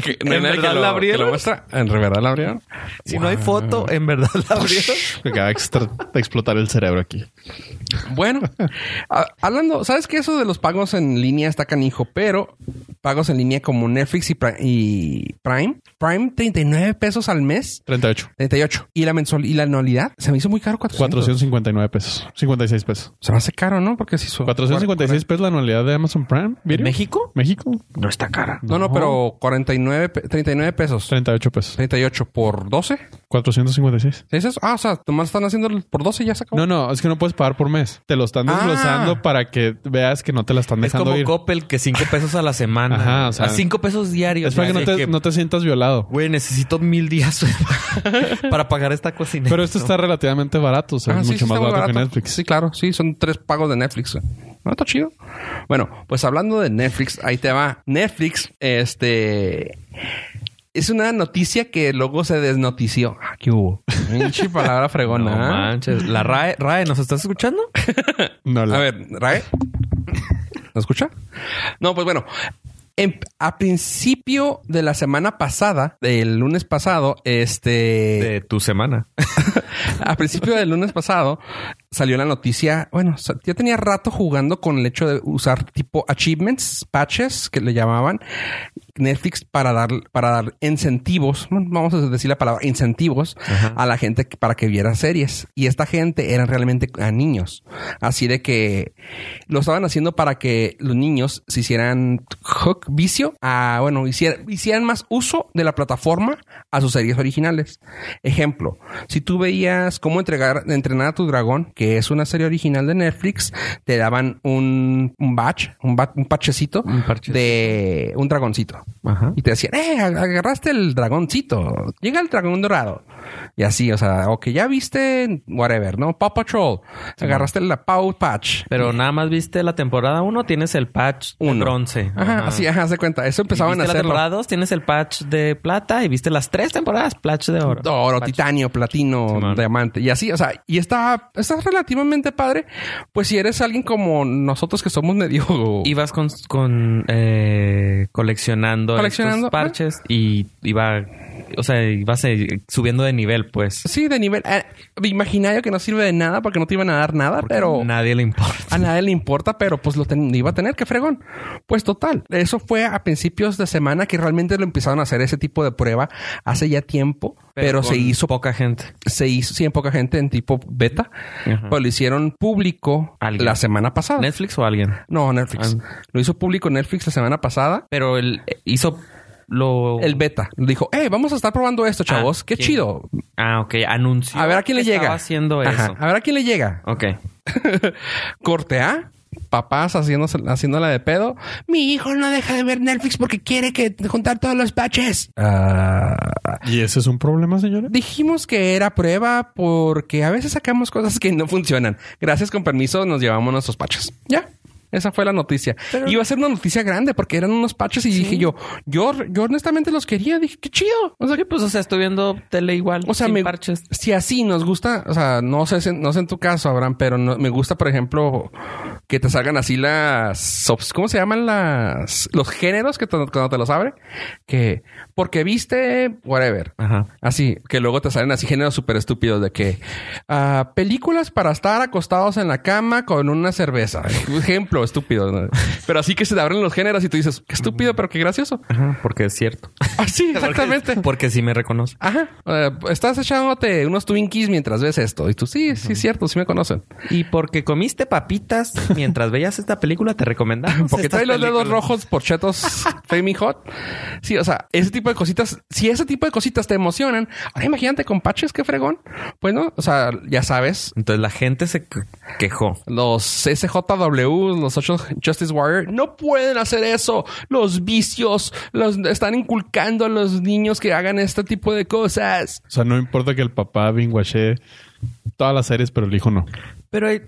Que-
¿En
nadie
verdad
que lo-
la abrieron?
que lo muestra? ¿En verdad la abrieron?
si no hay foto, en verdad la abrieron.
Me acaba de extra- de explotar el cerebro aquí.
Bueno, a- hablando, ¿sabes que eso de los pagos en línea está canijo? Pero pagos en línea como Netflix y, Pri- y Prime, Prime 39 pesos al mes,
38.
38. Y la mensual y la anualidad se me hizo muy caro 400.
459 pesos. 56 pesos.
Se me hace caro, ¿no? Porque si son
456 pesos la anualidad de Amazon Prime. Video.
México?
México.
No está cara.
No, no, pero 49, pe- 39 pesos.
38 pesos.
38 por 12.
456.
¿Es eso? Ah, o sea, nomás están haciendo el por 12 y ya se acabó.
No, no, es que no puedes pagar por mes. Te lo están
Ah.
desglosando para que veas que no te la están
Es
dejando
como
ir.
Coppel que cinco pesos a la semana.
Ajá, o sea-
a cinco pesos diarios.
Es para que no
Así
te, no te sientas violado.
Güey, necesito mil días para pagar esta cocina.
Pero esto está relativamente barato. O sea,
Ah,
es
sí,
mucho
sí,
más
está muy
barato, que
barato.
Netflix.
Sí, claro, sí, son tres pagos de Netflix. No está chido. Bueno, pues hablando de Netflix, ahí te va. Netflix, este. Es una noticia que luego se desnotició. Ah, ¿qué hubo? Pinche palabra
No
fregona. ¿eh?
manches. La RAE, RAE, ¿nos estás escuchando?
No, la-
A ver, Rae. ¿Lo escucha? No, pues bueno. en- a principio de la semana pasada, del lunes pasado, este.
De tu semana.
A principio del lunes pasado salió la noticia. Bueno, sa- ya tenía rato jugando con el hecho de usar tipo achievements, patches que le llamaban Netflix para dar, para dar incentivos. bueno, Vamos a decir la palabra incentivos a la gente que- para que viera series. Y esta gente eran realmente a niños. Así de que lo estaban haciendo para que los niños se hicieran hook vicio a, bueno, hicier- hicieran más uso de la plataforma a sus series originales. Ejemplo, si tú veías cómo entregar, entrenar a tu dragón, que es una serie original de Netflix, te daban un, un batch, un, ba- un parchecito de un dragoncito. Y te decían, eh, ag- agarraste el dragoncito, llega el dragón dorado. Y así, o sea, o que ya viste, whatever, ¿no? Paw Patrol, agarraste la Paw Patch.
Pero nada más viste la temporada uno, tienes el patch de
Uno.
bronce.
Ajá, así, ajá, haz de cuenta. Eso empezaban
viste
a
la
hacerlo.
temporada 2, tienes el patch de plata y viste las tres temporadas patch de oro.
Oro, titanio, platino,
Simón.
diamante. Y así, o sea, y está, está relativamente padre. Pues si eres alguien como nosotros que somos medio...
Ibas con, con eh, coleccionando,
Coleccionando,
estos parches y iba, o sea, ibas eh, subiendo de nivel, pues.
Sí, de nivel... eh, imaginario que no sirve de nada porque no te iban a dar nada, pero...
nadie le importa.
A nadie le importa, pero pues lo ten- iba a tener, que fregón. Pues total, eso fue a principios de semana que realmente lo empezaron a hacer ese tipo de prueba hace ya tiempo, pero, se
con
hizo
poca gente.
se hizo, sí, en poca gente en tipo beta, pero lo hicieron público
Alguien. Ah.
la semana pasada.
Netflix o alguien.
no, Netflix. Lo hizo público Netflix la semana pasada.
Pero él eh, hizo lo
El beta dijo, hey, vamos a estar probando esto, chavos. Qué
Oh. Ah, ¿quién?
chido.
Ah, ok, anunció.
A ver a quién le
que
llega.
Estaba haciendo
Ajá,
eso.
A ver a quién le llega.
Ok.
Corte A. papás haciéndose- haciéndola de pedo. Mi hijo no deja de ver Netflix porque quiere que juntar todos los patches. Ah,
¿Y ese es un problema, señora?
dijimos que era prueba porque a veces sacamos cosas que no funcionan. Gracias, con permiso, nos llevamos nuestros patches. Ya. Esa fue la noticia. Iba a ser una noticia grande porque eran unos patches y dije yo, yo, yo honestamente los quería. Dije, qué chido. O sea,
Sí, pues, o sea, estoy viendo tele igual.
o sea,
sin
me-
parches.
si así nos gusta, o sea, no sé, si- no sé en tu caso, Abraham, pero no- me gusta, por ejemplo, que te salgan así las, subs- ¿cómo se llaman las, los géneros que te- cuando te los abre? Que, porque viste, whatever.
Ajá.
Así, que luego te salen así géneros súper estúpidos de que ah, películas para estar acostados en la cama con una cerveza. Ejemplo estúpido. ¿no? Pero así que se te abren los géneros y tú dices, qué estúpido, pero qué gracioso.
Ajá, porque es cierto.
Así, exactamente.
Porque sí me reconoce.
Ajá. Eh, estás echándote unos Twinkies mientras ves esto. Y tú, sí, sí, es cierto, sí me conocen.
Y porque comiste papitas mientras veías esta película, te recomendamos.
Porque
estas
trae los dedos
películas.
rojos por chetos Flaming Hot. Sí, o sea, ese tipo de cositas, si ese tipo de cositas te emocionan, ahora imagínate con patches, qué fregón. Pues no, o sea, ya sabes,
Entonces la gente se que- quejó.
los SJW, los Social Justice Warrior, no pueden hacer eso. Los vicios los están inculcando a los niños que hagan este tipo de cosas.
O sea, no importa que el papá binguache todas las series, pero el hijo no.
Pero eh,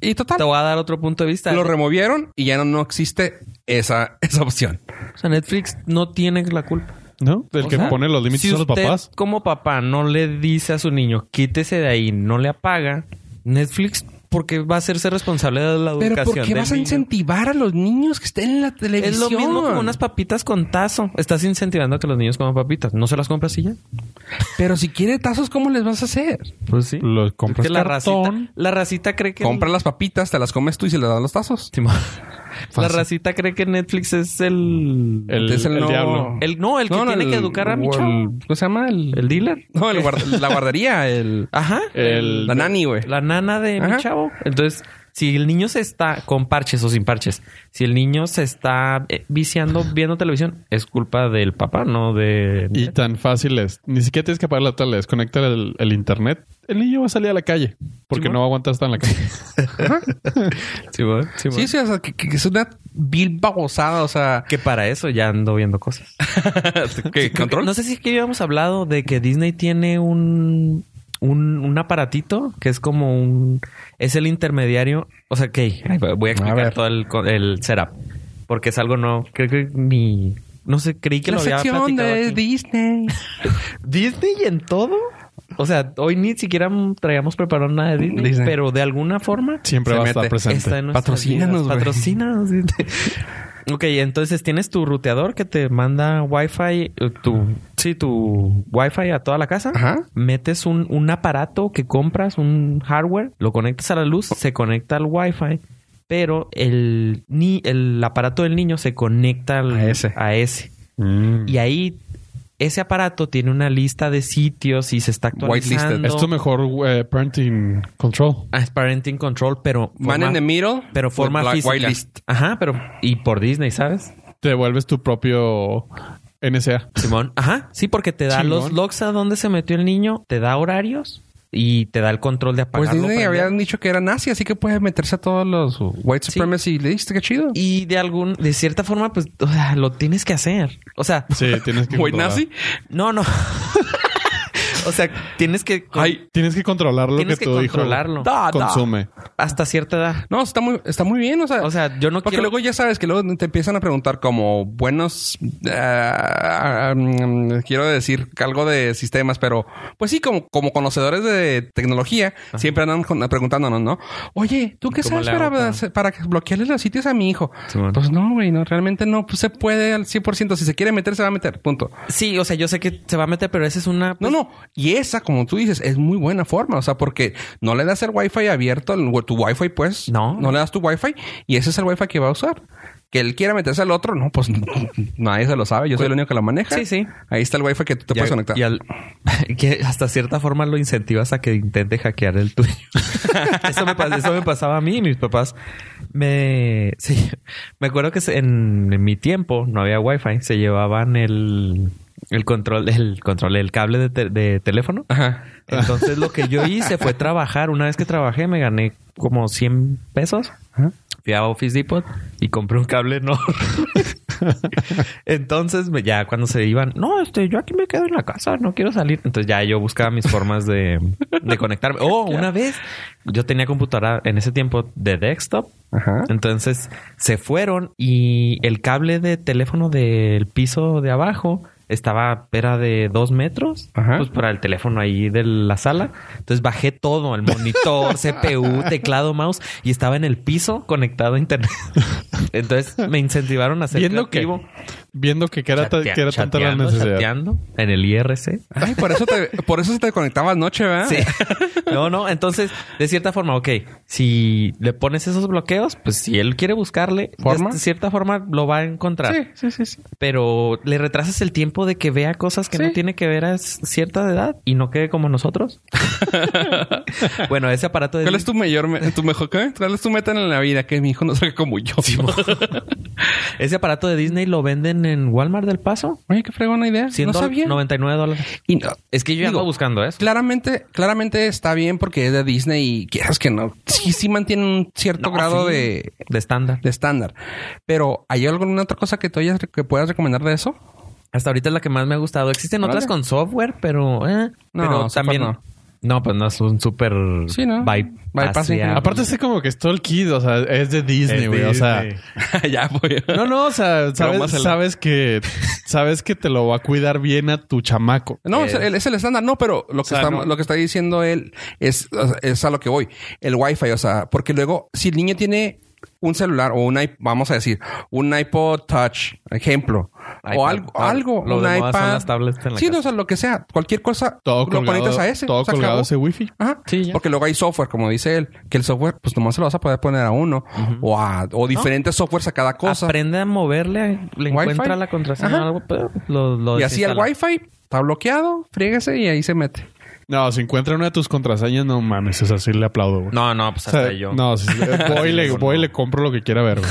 Y total,
te voy a dar otro punto de vista.
lo removieron y ya no, no existe esa, esa opción.
o sea, Netflix no tiene la culpa.
¿No? Del
O
que
sea,
pone los límites
si
son los
usted,
papás.
Como papá no le dice a su niño, quítese de ahí, no le apaga, Netflix, porque va a hacerse responsable de la educación.
Pero ¿por qué
del
vas a
niño?
incentivar a los niños que estén en la
Es
televisión?
lo mismo como unas papitas con tazo. Estás incentivando a que los niños coman papitas. ¿No se las compras y ya?
Pero si quiere tazos, ¿cómo les vas a hacer?
Pues sí.
Los compras
Es que la
cartón.
racita, la racita cree que...
Compra las papitas, te las comes tú y se le dan los tazos.
Simón. La racita cree que Netflix es el...
El,
Es el
el
no-
diablo.
el- no, el que tiene que educar a mi
o
chavo.
el- ¿Cómo se llama? El,
¿El dealer?
no, el guarda- la guardería, el,
Ajá.
El-
la nani, güey.
La nana de
Ajá.
mi chavo. Entonces, si el niño se está con parches o sin parches, si el niño se está eh, viciando viendo televisión, es culpa del papá, no de.
Y tan fácil es. Ni siquiera tienes que apagar la tele, desconecta el, el internet. El niño va a salir a la calle porque no va a aguantar estar en la calle.
Sí, bueno, sí, bueno.
Sí, sí, o sea, que, que es una vil babosada, o sea,
Que para eso ya ando viendo cosas.
que control.
No sé si es que habíamos hablado de que Disney tiene un, un, un aparatito que es como un... Es el intermediario. O sea, que voy a explicar
ver.
todo el, co- el setup. Porque es algo no... Creo que mi... No sé, creí que
la
lo había
sección
platicado
de
aquí.
Disney.
Disney en todo. O sea, hoy ni siquiera traíamos preparado nada de Disney,
Disney.
pero de alguna forma
Siempre
Se
va a estar
mete.
presente.
está en nuestras
Patrocínanos,
vidas.
güey.
Patrocínanos. ok, entonces tienes tu ruteador que te manda Wi-Fi, eh, tu, sí, tu Wi-Fi a toda la casa.
Ajá.
Metes un, un aparato que compras, un hardware, lo conectas a la luz, se conecta al Wi-Fi. Pero el, ni, el aparato del niño se conecta al-
A ese.
A ese.
Mm.
Y ahí ese aparato tiene una lista de sitios y se está
Whitelisted.
actualizando.
Esto mejor eh, parenting control.
Ah, es parenting control, pero
Man in the middle.
pero
with
forma
black-
física.
whitelist.
Ajá, pero y por Disney, ¿sabes?
Te vuelves tu propio NSA.
Simón. Ajá, sí, porque te da
Simón.
los logs a dónde se metió el niño, te da horarios y te da el control de
Pues
apagarlo.
Disney
prenderlo.
habían dicho que era nazi, así que puede meterse a todos los white
Sí.
supremacy. ¿Listo? Qué chido.
Y de algún, de cierta forma, pues o sea, lo tienes que hacer. O sea,
Sí, tienes que
Güey,
controlar.
nazi.
no, no. o sea, tienes que
Ay,
Tienes que controlar lo
Tienes
que
que
tu hijo
controlarlo. Da, da.
consume.
hasta cierta edad.
no, está muy, está muy bien. O sea,
O sea, yo no
porque
quiero-
luego ya sabes que luego te empiezan a preguntar como buenos. ah, mm, quiero decir algo de sistemas, pero pues sí, como, como conocedores de tecnología, siempre andan con- preguntándonos, ¿no? Oye, ¿tú qué
¿Cómo
sabes
le
para,
hago
para... bloquearle los sitios a mi hijo?
Simón.
Pues no, güey, no, realmente no pues, se puede al 100%. Si se quiere meter, se va a meter. Punto.
Sí, o sea, yo sé que se va a meter, pero esa es una pues,
No, no. Y esa, como tú dices, es muy buena forma. O sea, porque no le das el wifi abierto, el- tu wifi, pues.
No.
No le das tu wifi y ese es el wifi que va a usar. Que él quiera meterse al otro, no, pues nadie se lo sabe. Yo soy el único que lo maneja.
Sí, sí.
Ahí está el wifi que tú
Y
te puedes
al-
conectar.
y al- que hasta cierta forma lo incentivas a que intente hackear el tuyo. eso, me, pas- eso me pasaba a mí y mis papás. Me, sí, me acuerdo que se- en, en mi tiempo no había wifi. Se llevaban el, el control, el control, el cable de, te- de teléfono.
Ajá.
Entonces lo que yo hice fue trabajar. Una vez que trabajé me gané como 100 pesos. fui a Office Depot y compré un cable Nord. Entonces, me- ya cuando se iban, no, este, yo aquí me quedo en la casa, no quiero salir. Entonces ya yo buscaba mis formas de, de conectarme. Oh, una vez yo tenía computadora en ese tiempo de desktop.
Ah.
Ajá.
Entonces se fueron y el cable de teléfono del piso de abajo estaba, era de dos metros,
Ajá.
pues para el teléfono ahí de la sala. Entonces bajé todo, el monitor, CPU, teclado, mouse y estaba en el piso conectado a internet. Entonces me incentivaron a ser
Viendo que,
creativo.
viendo que, que era, ta-
Chatea-
que era tanta la
chateando,
necesidad.
chateando en el IRC.
Ay, por eso te, por eso se te conectaba anoche, ¿verdad?
Sí. No, no. Entonces, de cierta forma, ok, si le pones esos bloqueos, pues si él quiere buscarle,
¿Forma?
de cierta forma lo va a encontrar.
Sí, sí, sí, sí.
Pero le retrasas el tiempo de que vea cosas que no tiene que ver a s- cierta edad y no quede como nosotros. bueno, ese aparato de...
¿Cuál es tu mayor, me- tu mejor, qué? cuál es tu meta en la vida? Que mi hijo no salga como yo.
Ese aparato de Disney lo venden en Walmart del Paso.
Oye, qué fregona idea. No
100
sabía.
99 dólares.
Y no-
Es que yo ya
Digo,
ando buscando eso.
Claramente, claramente está bien porque es de Disney y quieras que no. Sí, sí mantiene un cierto
No,
grado
sí.
de,
De estándar.
de estándar. Pero, ¿hay alguna otra cosa que tú hayas, que puedas recomendar de eso?
Hasta ahorita es la que más me ha gustado. Existen
Órale.
otras con software, pero... eh,
No,
pero
software
también...
no.
No. pues no es un súper...
Sí, ¿no?
bypass
Bypass, sí.
hacia-
Aparte, es como que es todo el kid, o sea, es de Disney,
Es
güey. O sea,
Disney.
ya,
pues.
voy.
no, no, o sea, sabes,
Trómasela.
sabes que sabes que te lo va a cuidar bien a tu chamaco.
No, es,
Eh.
el, es el estándar. No, pero lo que,
sea,
está,
no.
lo que está diciendo él es, o sea, es a lo que voy. El Wi-Fi, o sea, porque luego, si el niño tiene un celular o un iP- vamos a decir, un iPod Touch, ejemplo, o
iPad,
algo,
tab-
algo,
lo
un
de moda son
iPad.
las tablets en la
sí, no,
casa.
o sea, lo que sea, cualquier cosa,
Todo
lo
colgado,
conectas a ese.
todo
se
colgado
acabó.
a ese wifi.
Ajá.
Sí, ya.
Porque luego hay software, como dice él, que el software, pues nomás se lo vas a poder poner a uno o a o diferentes softwares a cada cosa.
Aprende a moverle, le
Wi-Fi.
encuentra la contraseña
Ajá.
o algo, pero lo, lo
y así el
desinstala.
Wi-Fi está bloqueado, fríguese y ahí se mete.
No, si encuentra una de tus contraseñas, no mames, es así le aplaudo, güey.
No, no, pues
O
hasta
sea,
yo.
No, sí, sí, voy, y le, voy y le compro lo que quiera ver, güey.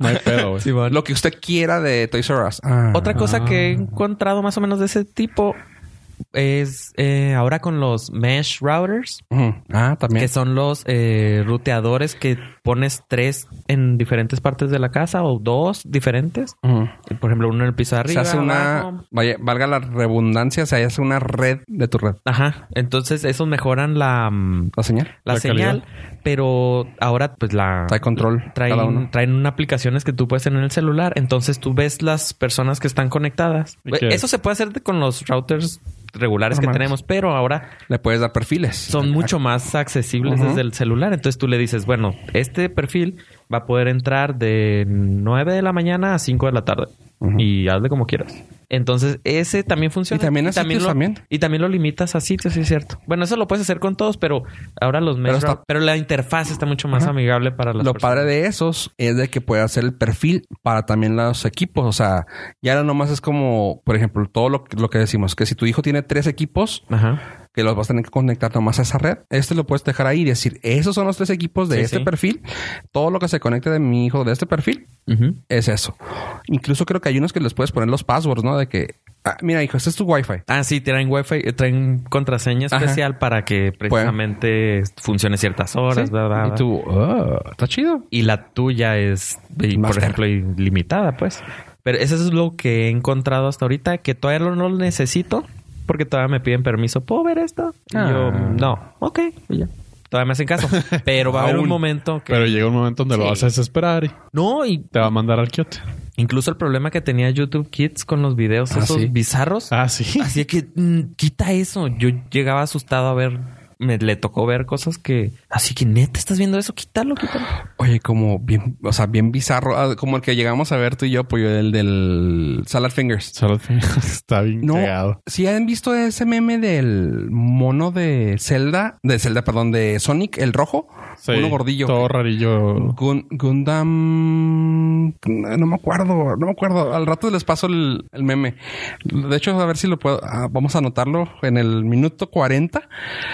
No hay pedo, güey.
Lo que usted quiera de Toys R Us. Ah.
Otra cosa que he encontrado más o menos de ese tipo es eh, ahora con los mesh routers,
Ujú. Ah, también.
que son los eh, ruteadores que pones tres en diferentes partes de la casa o dos diferentes.
Ujú.
Por ejemplo, uno en el piso de
se
arriba.
hace una,
abajo.
vaya, valga la redundancia, se hace una red de tu red.
Ajá. Entonces, esos mejoran la, mm,
La señal.
la
La
señal, pero ahora, pues la.
Trae control. cada
traen,
uno.
traen una aplicaciones que tú puedes tener en el celular. Entonces tú ves las personas que están conectadas.
¿Y qué?
Eso se puede hacer de- con los routers regulares que
Normales.
tenemos, pero ahora
Le puedes dar perfiles.
son mucho más accesibles
Ujú.
desde el celular. Entonces tú le dices, bueno, este perfil va a poder entrar de 9 de la mañana a 5 de la tarde y hazle como quieras. Entonces ese también funciona.
Y también a sitios
lo,
también.
Y también lo limitas a sitios, sí es cierto. Bueno, eso lo puedes hacer con todos, pero ahora los... mesh route- Pero,
está-
la interfaz está mucho más amigable para las
Lo
personas.
padre de esos es de que puede hacer el perfil para también los equipos. O sea, ya no nomás es como, por ejemplo, todo lo, lo que decimos, que si tu hijo tiene tres equipos,
Ajá.
que los vas a tener que conectar nomás a esa red, este lo puedes dejar ahí y decir, esos son los tres equipos de
Sí,
este
sí.
perfil. Todo lo que se conecte de mi hijo de este perfil
Ujú.
es eso. Incluso creo que hay unos que les puedes poner los passwords, ¿no? De que, ah, mira, hijo, este es tu Wi-Fi.
Ah, sí, traen wifi, eh, traen contraseña
Ajá.
especial para que precisamente funcione ciertas horas,
Sí.
bla, bla, bla.
Y tú, "Ah, está chido.
Y la tuya es, y,
Más
por
cara.
ejemplo, ilimitada, pues. Pero eso es lo que he encontrado hasta ahorita, que todavía no no lo necesito, porque todavía me piden permiso. ¿Puedo ver esto? Y
Ah.
yo, no, ok, y ya. Todavía me hacen caso. Pero va a haber
Aún.
un momento que...
Pero llega un momento donde lo
Sí.
vas a desesperar y
No, y
te va a mandar al quiote.
incluso el problema que tenía YouTube Kids con los videos
Ah,
esos
sí.
bizarros.
Ah, sí.
Así que mm, quita eso. Yo llegaba asustado a ver, me le tocó ver cosas que. Así que neta, estás viendo eso, quítalo, quítalo.
Oye, como bien, o sea, bien bizarro, ah, como el que llegamos a ver tú y yo, pues el del Salad Fingers.
Solo te- Está bien
No,
cagado.
si han visto ese meme del mono de Zelda, de Zelda, perdón, de Sonic, el rojo,
Sí,
uno gordillo.
Todo rarillo.
Gun- Gundam. No me acuerdo, no me acuerdo. Al rato les paso el, el meme. De hecho, a ver si lo puedo. ah, vamos a anotarlo en el minuto 40.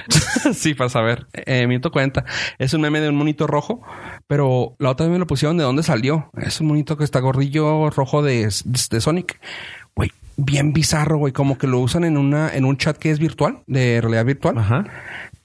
sí, para saber. Eh, minuto 40. Es un meme de un monito rojo, pero la otra vez me lo pusieron de dónde salió. Es un monito que está gordillo rojo de, de Sonic. Güey, bien bizarro, güey. Como que lo usan en, una, en un chat que es virtual, de realidad virtual.
Ajá.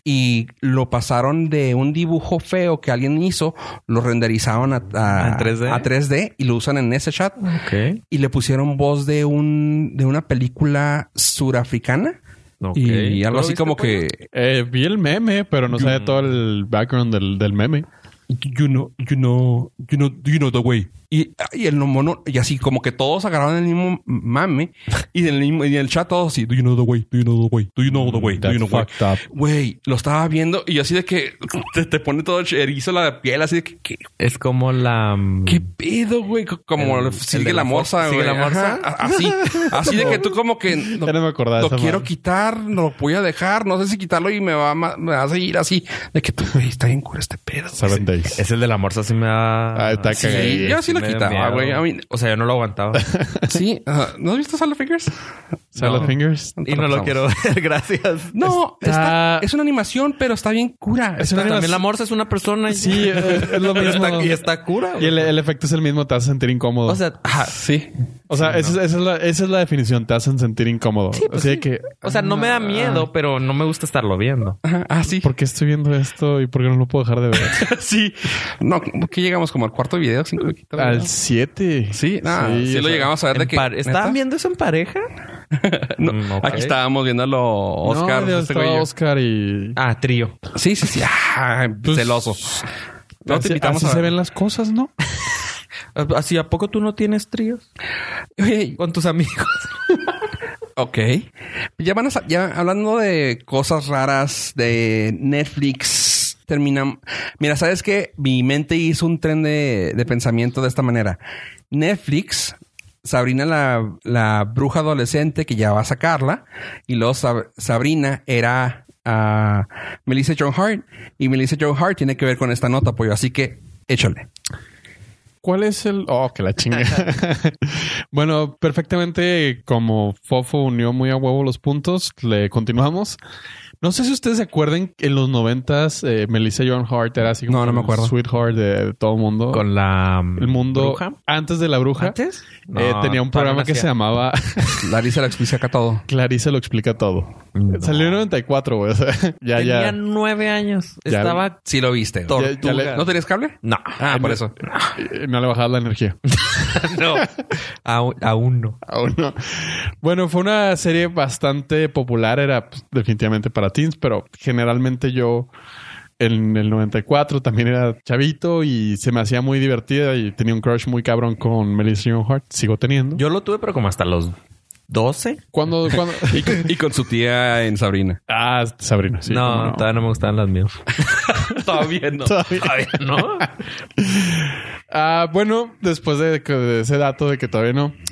y lo pasaron de un dibujo feo que alguien hizo, lo renderizaron a, a-
¿A 3D?
a 3D y lo usan en ese chat
Ok.
y le pusieron voz de un de una película surafricana
Ok.
y algo
¿Lo
así
viste,
como
Pollo?
que
Eh, vi el meme, pero no sabía todo el background del, del meme.
you know, you know, you know, you know the way. Y, y el mono, y así como que todos agarraron el mismo mame y en el, mismo- y en el chat todos así, do you know the way, do you know the way, do you know the way, do you
That's
know the way.
fucked up.
Güey, lo estaba viendo y yo así de que te, te pone todo erizo la piel, así de que, ¿qué,
Es como la... mm,
qué pedo, güey? Co- Como
El- el
sigue
de
la
la
morsa,
foto,
güey.
sigue la morsa.
Ajá, a- Así, así de que tú como que...
Ya no me acordaba
Lo
esa
quiero
madre.
quitar, no lo voy a dejar, no sé si quitarlo y me va, a ma- me va a seguir así. De que tú, güey, está bien cura este pedo.
Seven Days.
Es el de la morsa, sí me da...
Ah, está
Sí,
cagadilla.
yo sí lo
me da
quitaba,
miedo.
güey. A mí-
O sea, yo no lo aguantaba.
Sí, ajá. ¿no has visto Salad Fingers?
Salad
No.
Fingers.
y no lo quiero ver, gracias.
No,
Está-
está- es una animación, pero está bien cura.
Es una
También la
animación.
morsa es una persona. y-
Sí, eh, es lo
Y
mismo.
está, y está cura.
Y
güey.
el, el efecto es el mismo, te hace sentir incómodo.
O sea, ajá,
Sí. pues
O sea, esa, es, esa es la, esa es la definición, te hacen sentir incómodo. Así de que,
o sea, no me da miedo, pero no me gusta estarlo viendo.
Ajá, Ah, sí.
¿por qué estoy viendo esto y por qué no lo puedo dejar de ver?
sí. No, ¿qué llegamos? ¿Como al cuarto video? ¿Cinco? quinto video?
Al 7.
Sí, ah, sí, lo llegamos a ver de
En
que...
par- ¿Estaban
¿neta?
viendo eso en pareja?
No,
Mm, ok.
Aquí estábamos viendo a lo Oscar.
No,
este güey y yo.
Oscar y...
Ah, trío.
Sí, sí, sí. Ah,
Pues,
celoso. No te
así
invitamos
así
a
se
ver.
ven las cosas, ¿no?
Así, ¿a poco tú no tienes tríos?
Oye,
Con tus amigos.
Ok. Ya van a sa- ya hablando de cosas raras de Netflix. Terminamos. Mira, sabes que mi mente hizo un tren de, de pensamiento de esta manera. Netflix, Sabrina la, la bruja adolescente que ya va a sacarla, y luego Sab- Sabrina era a Melissa John Hart, y Melissa John Hart tiene que ver con esta nota, pollo. Así que échale.
¿Cuál es el...? Oh, que la chinga. bueno, perfectamente como Fofo unió muy a huevo los puntos, le continuamos. No sé si ustedes se acuerden que en los noventas eh, Melissa Joan Hart era así como
No, no me
el
acuerdo.
sweetheart de, de todo el mundo.
Con la... mm,
el mundo
bruja.
antes de la bruja.
¿Antes?
eh,
No,
tenía un
todavía
programa
no
que
hacía.
se llamaba
Larissa la explica acá todo.
Clarice lo explica todo. Salió en 94, güey. o sea, ya,
Tenía
ya.
nueve años.
Ya.
Estaba...
Sí lo viste.
Tor-
Ya- ya le-
tortuga.
¿No tenías cable?
No.
Ah, por eso.
Eh, No le bajaba la energía.
no. Aún, aún no.
Aún no. Bueno, fue una serie bastante popular, era pues, definitivamente para teens, pero generalmente yo en el 94 también era chavito y se me hacía muy divertida y tenía un crush muy cabrón con Melissa Joan Hart, sigo teniendo.
Yo lo tuve, pero como hasta los 12.
cuando cuando
Y con, y con su tía en Sabrina.
Ah, Sabrina, sí.
no,
cómo
todavía no me gustaban las mías.
Todavía no.
Todavía no.
Ah, bueno, después de, que- de ese dato de que todavía no.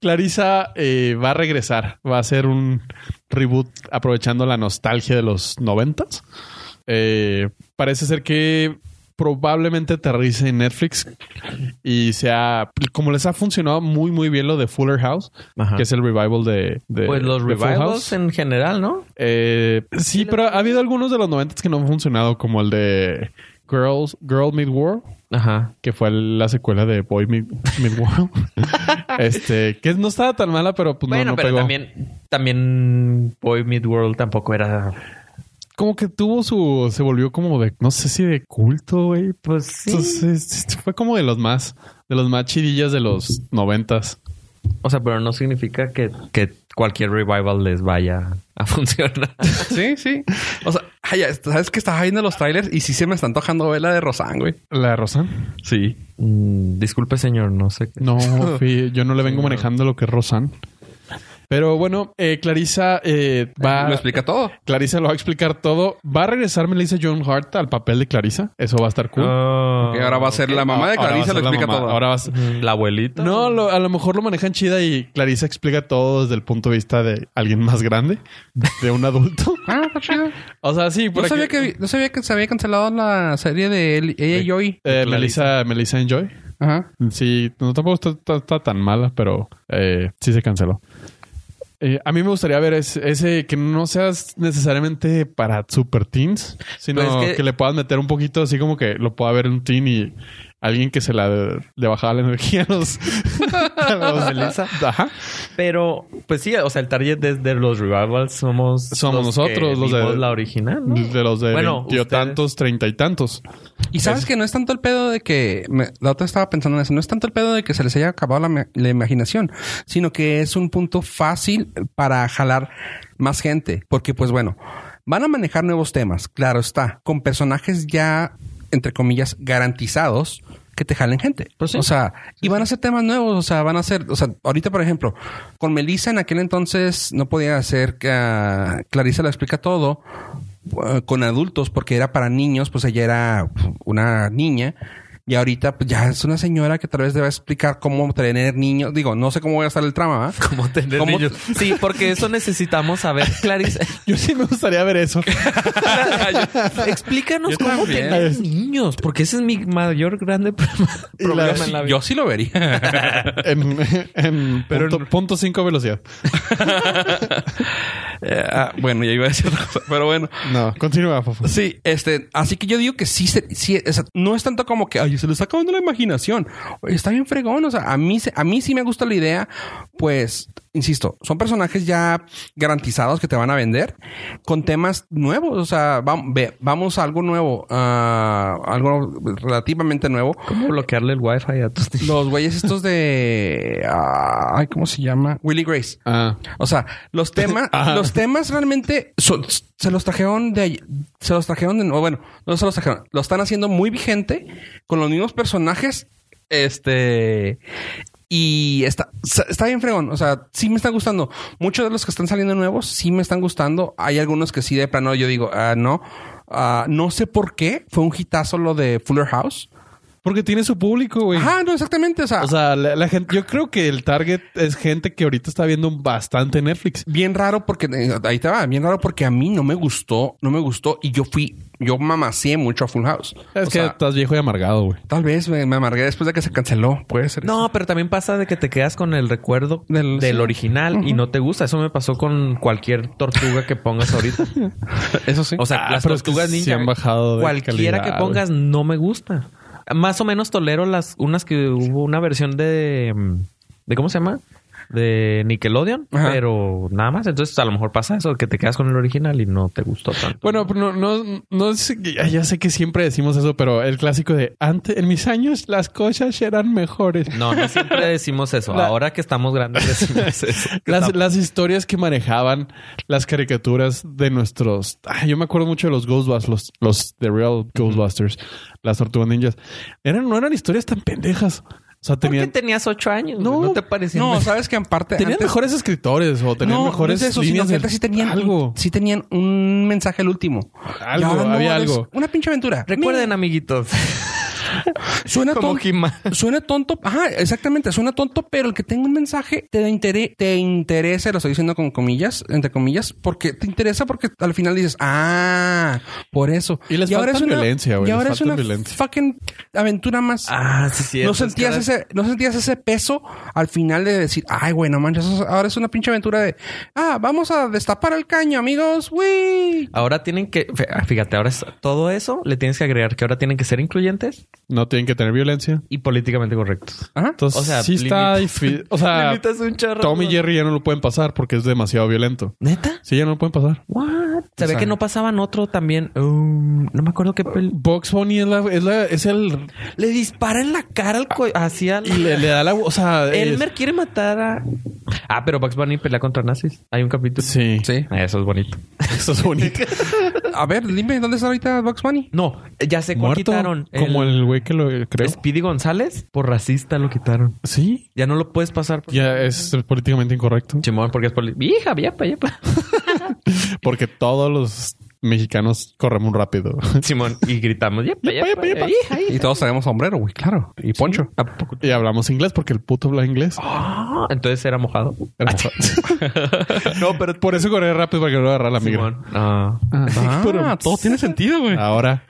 Clarisa eh, va a regresar, va a hacer un reboot aprovechando la nostalgia de los noventas. Eh, parece ser que probablemente aterrice en Netflix y sea como les ha funcionado muy muy bien lo de Fuller House,
Ajá.
que es el revival de, de-
Pues los
de Full
revivals
House.
en general, ¿no?
Eh, sí, pero ha habido algunos de los noventas que no han funcionado, como el de Girls Girl Mid War
Ajá.
que fue la secuela de Boy Mid- Midworld. este, que no estaba tan mala, pero pues no-
bueno,
no,
pero
pegó.
también, también Boy Mid World tampoco era.
Como que tuvo su, se volvió como de, no sé si de culto, güey.
Pues sí.
Entonces, este, fue como de los más, de los más chidillas de los noventas.
O sea, pero no significa que, que cualquier revival les vaya a funcionar.
Sí, sí. O sea, ay, ya, sabes que estaba viendo los trailers y sí se me está antojando ver la de Rosan, güey.
¿La de Rosan?
Sí.
Mm, disculpe, señor, no sé qué.
No, fui- yo no le vengo manejando lo que es Rosan. Pero bueno, eh, Clarisa eh, va...
Lo explica todo.
Clarisa lo va a explicar todo. Va a regresar Melissa John Hart al papel de Clarisa. Eso va a estar cool.
Ah,
Y ahora va a ser la mamá de
Ahora va a
Clarisa,
ser
lo
la
explica
mamá.
todo.
Ahora va a ser-
la abuelita.
No, lo- a lo mejor lo manejan chida y Clarisa explica todo desde el punto de vista de alguien más grande, de un adulto.
Ah, está chido.
O sea, sí, por
No sabía
aquí-
que, no sabía que se había cancelado la serie de él- ella y Joey.
Eh, Melissa, Melissa Enjoy.
Ajá.
Sí, no tampoco está, está- está tan mala, pero eh, sí se canceló. Eh, a mí me gustaría ver ese, ese que no seas necesariamente para super teens, sino
Pues es
que...
que-
le puedas meter un poquito así como que lo pueda ver un teen y alguien que se la le bajaba la energía a los, a los-
Melissa.
Ajá.
Pero, pues sí, o sea, el target de, de los revivals somos...
Somos
que
nosotros, los de-
vimos la original, ¿no?
De los de
Bueno,
veintitantos,
ustedes.
tantos, treinta y tantos.
Y sabes que no es tanto el pedo de que me- la otra estaba pensando en eso, no es tanto el pedo de que se les haya acabado la, ma- la imaginación, sino que es un punto fácil para jalar más gente, porque pues bueno, van a manejar nuevos temas, claro está, con personajes ya entre comillas garantizados que te jalen gente.
Pues sí.
O sea, y van a ser temas nuevos, o sea, van a ser, o sea, ahorita por ejemplo, con Melissa en aquel entonces no podía hacer que ah, Clarisa lo explica todo, eh, con adultos porque era para niños, pues ella era pf, una niña. Y ahorita pues, ya es una señora que tal vez deba explicar cómo tener niños. Digo, no sé cómo voy a estar el trama, ¿va?
Como tener
¿Cómo-
niños. Sí, porque eso necesitamos saber, Clarice.
Yo sí me gustaría ver eso.
Explícanos
Yo
cómo
también.
tener niños, porque ese es mi mayor grande problema.
Y la-
problema en la vida.
Yo sí lo vería.
en, en
Pero
punto, punto cinco velocidad.
Eh, ah, bueno, ya iba a decir otra cosa, pero bueno.
No, continúa, Fofo.
Sí, este, así que yo digo que sí, se- sí o sea, no es tanto como que, ay, se le está acabando la imaginación. Oye, Está bien fregón, o sea, a mí, se- a mí sí me gusta la idea, pues, insisto, son personajes ya garantizados que te van a vender con temas nuevos, o sea, vam- ve- vamos a algo nuevo, ah, algo relativamente nuevo.
¿Cómo bloquearle el wifi a tus niños?
Los güeyes estos de, ah, ay, ¿cómo se llama? Willy Grace.
Ah,
O sea, los temas,
Ajá.
los temas realmente son- se los trajeron de ahí- se los trajeron de nuevo. Bueno, no se los trajeron, lo están haciendo muy vigente con los mismos personajes. Este y está, sa- está bien fregón. O sea, sí me está gustando. Muchos de los que están saliendo nuevos sí me están gustando. Hay algunos que sí de plano yo digo, ah, no. Ah, no sé por qué fue un hitazo lo de Fuller House.
porque tiene su público, güey.
Ajá, no, exactamente. O sea,
O sea, la, la gente, yo creo que el target es gente que ahorita está viendo bastante Netflix.
Bien raro porque eh, ahí te va, bien raro porque a mí no me gustó, no me gustó y yo fui, yo mamacié mucho a Full House.
Es
O
que
sea,
estás viejo y amargado, güey.
tal vez me, me amargué después de que se canceló, puede ser. eso.
No, pero también pasa de que te quedas con el recuerdo
Del-
del,
sí.
original y no te gusta. Eso me pasó con cualquier tortuga que pongas ahorita.
eso sí.
O sea,
Ah,
las
pero es que
tortugas
sí
ninja.
han bajado de
cualquiera
calidad,
que pongas no me gusta. Más o menos tolero las unas que hubo una versión de mm, de cómo se llama? De Nickelodeon,
Ajá.
pero nada más. Entonces, a lo mejor pasa eso, que te quedas con el original y no te gustó tanto.
Bueno, pero no, no, no sé, ya ya sé que siempre decimos eso, pero el clásico de antes, en mis años las cosas eran mejores.
no, no siempre decimos eso.
La-
Ahora que estamos grandes decimos eso.
Las, las historias que manejaban las caricaturas de nuestros. Ah, yo me acuerdo mucho de los Ghostbusters, los, los The Real Ghostbusters, las Tortugas Ninjas. Eran, no eran historias tan pendejas. O sea,
¿Por qué
tenían.
tenías ocho años?
No,
No, no te parecía.
no, sabes que en parte
Tenían
antes-
mejores escritores o tenían
no,
mejores
no es eso, sino
líneas
que
de-
antes sí tenían
algo.
sí tenían un mensaje al último.
Algo,
Y ahora
había
es
algo.
Una pinche aventura.
Recuerden, amiguitos.
Mira, suena
como
tonto.
He-Man.
Suena tonto, ajá, exactamente, suena tonto, pero el que tenga un mensaje te, da intere- te interesa, lo estoy diciendo con comillas, entre comillas, porque te interesa porque al final dices, ah, por eso.
Y les falta violencia, güey,
Y
les
ahora es
falta
una
violencia.
fucking aventura más.
Ah, sí, sí.
no sentías ese, no sentías ese peso al final de decir, ay, güey, no manches, eso- ahora es una pinche aventura de, ah, vamos a destapar el caño, amigos, güey.
Ahora tienen que, fe- ah, fíjate, ahora es- todo eso le tienes que agregar que ahora tienen que ser incluyentes
No tienen que tener violencia.
y políticamente correctos.
Ajá.
Entonces,
O sea,
sí está difícil. O sea,
Limitas un chorro.
Tom y Ah, Jerry ya no lo pueden pasar porque es demasiado violento.
¿Neta?
Sí, ya no lo pueden pasar.
What? Sabía
sea-
que no pasaban otro también. Um, no me acuerdo qué pel...
Box Bunny es, la- es la- es el.
Le dispara en la cara al cuello. Hacia
Y le, le da la. O sea. es-
Elmer quiere matar a. Ah, pero Bugs Bunny pelea contra nazis. Hay un capítulo.
Sí.
Sí.
Ah, Eso es bonito.
Eso es bonito.
A ver, dime, ¿dónde está ahorita Bugs Bunny?
No, ya sé cuál
Muerto.
quitaron.
Como el güey que lo creó.
Speedy González. Por racista lo quitaron.
Sí.
Ya no lo puedes pasar. Por...
Ya es políticamente incorrecto.
Chimón, porque es poli... Hija, viepa, viepa.
Porque todos los mexicanos corremos rápido.
Simón, y gritamos, "Yepa,
Yepa,
yepa,
yepa, yepa".
yepa.
Y todos traemos sombrero, güey, claro. Y poncho. ¿A poco?
y hablamos inglés porque el puto habla inglés.
Ah, entonces era mojado.
Hermoso. no, pero por eso corré rápido para que no agarrara la migra.
ah. Simón. Ah.
Ah, todo tiene sentido, güey.
Ahora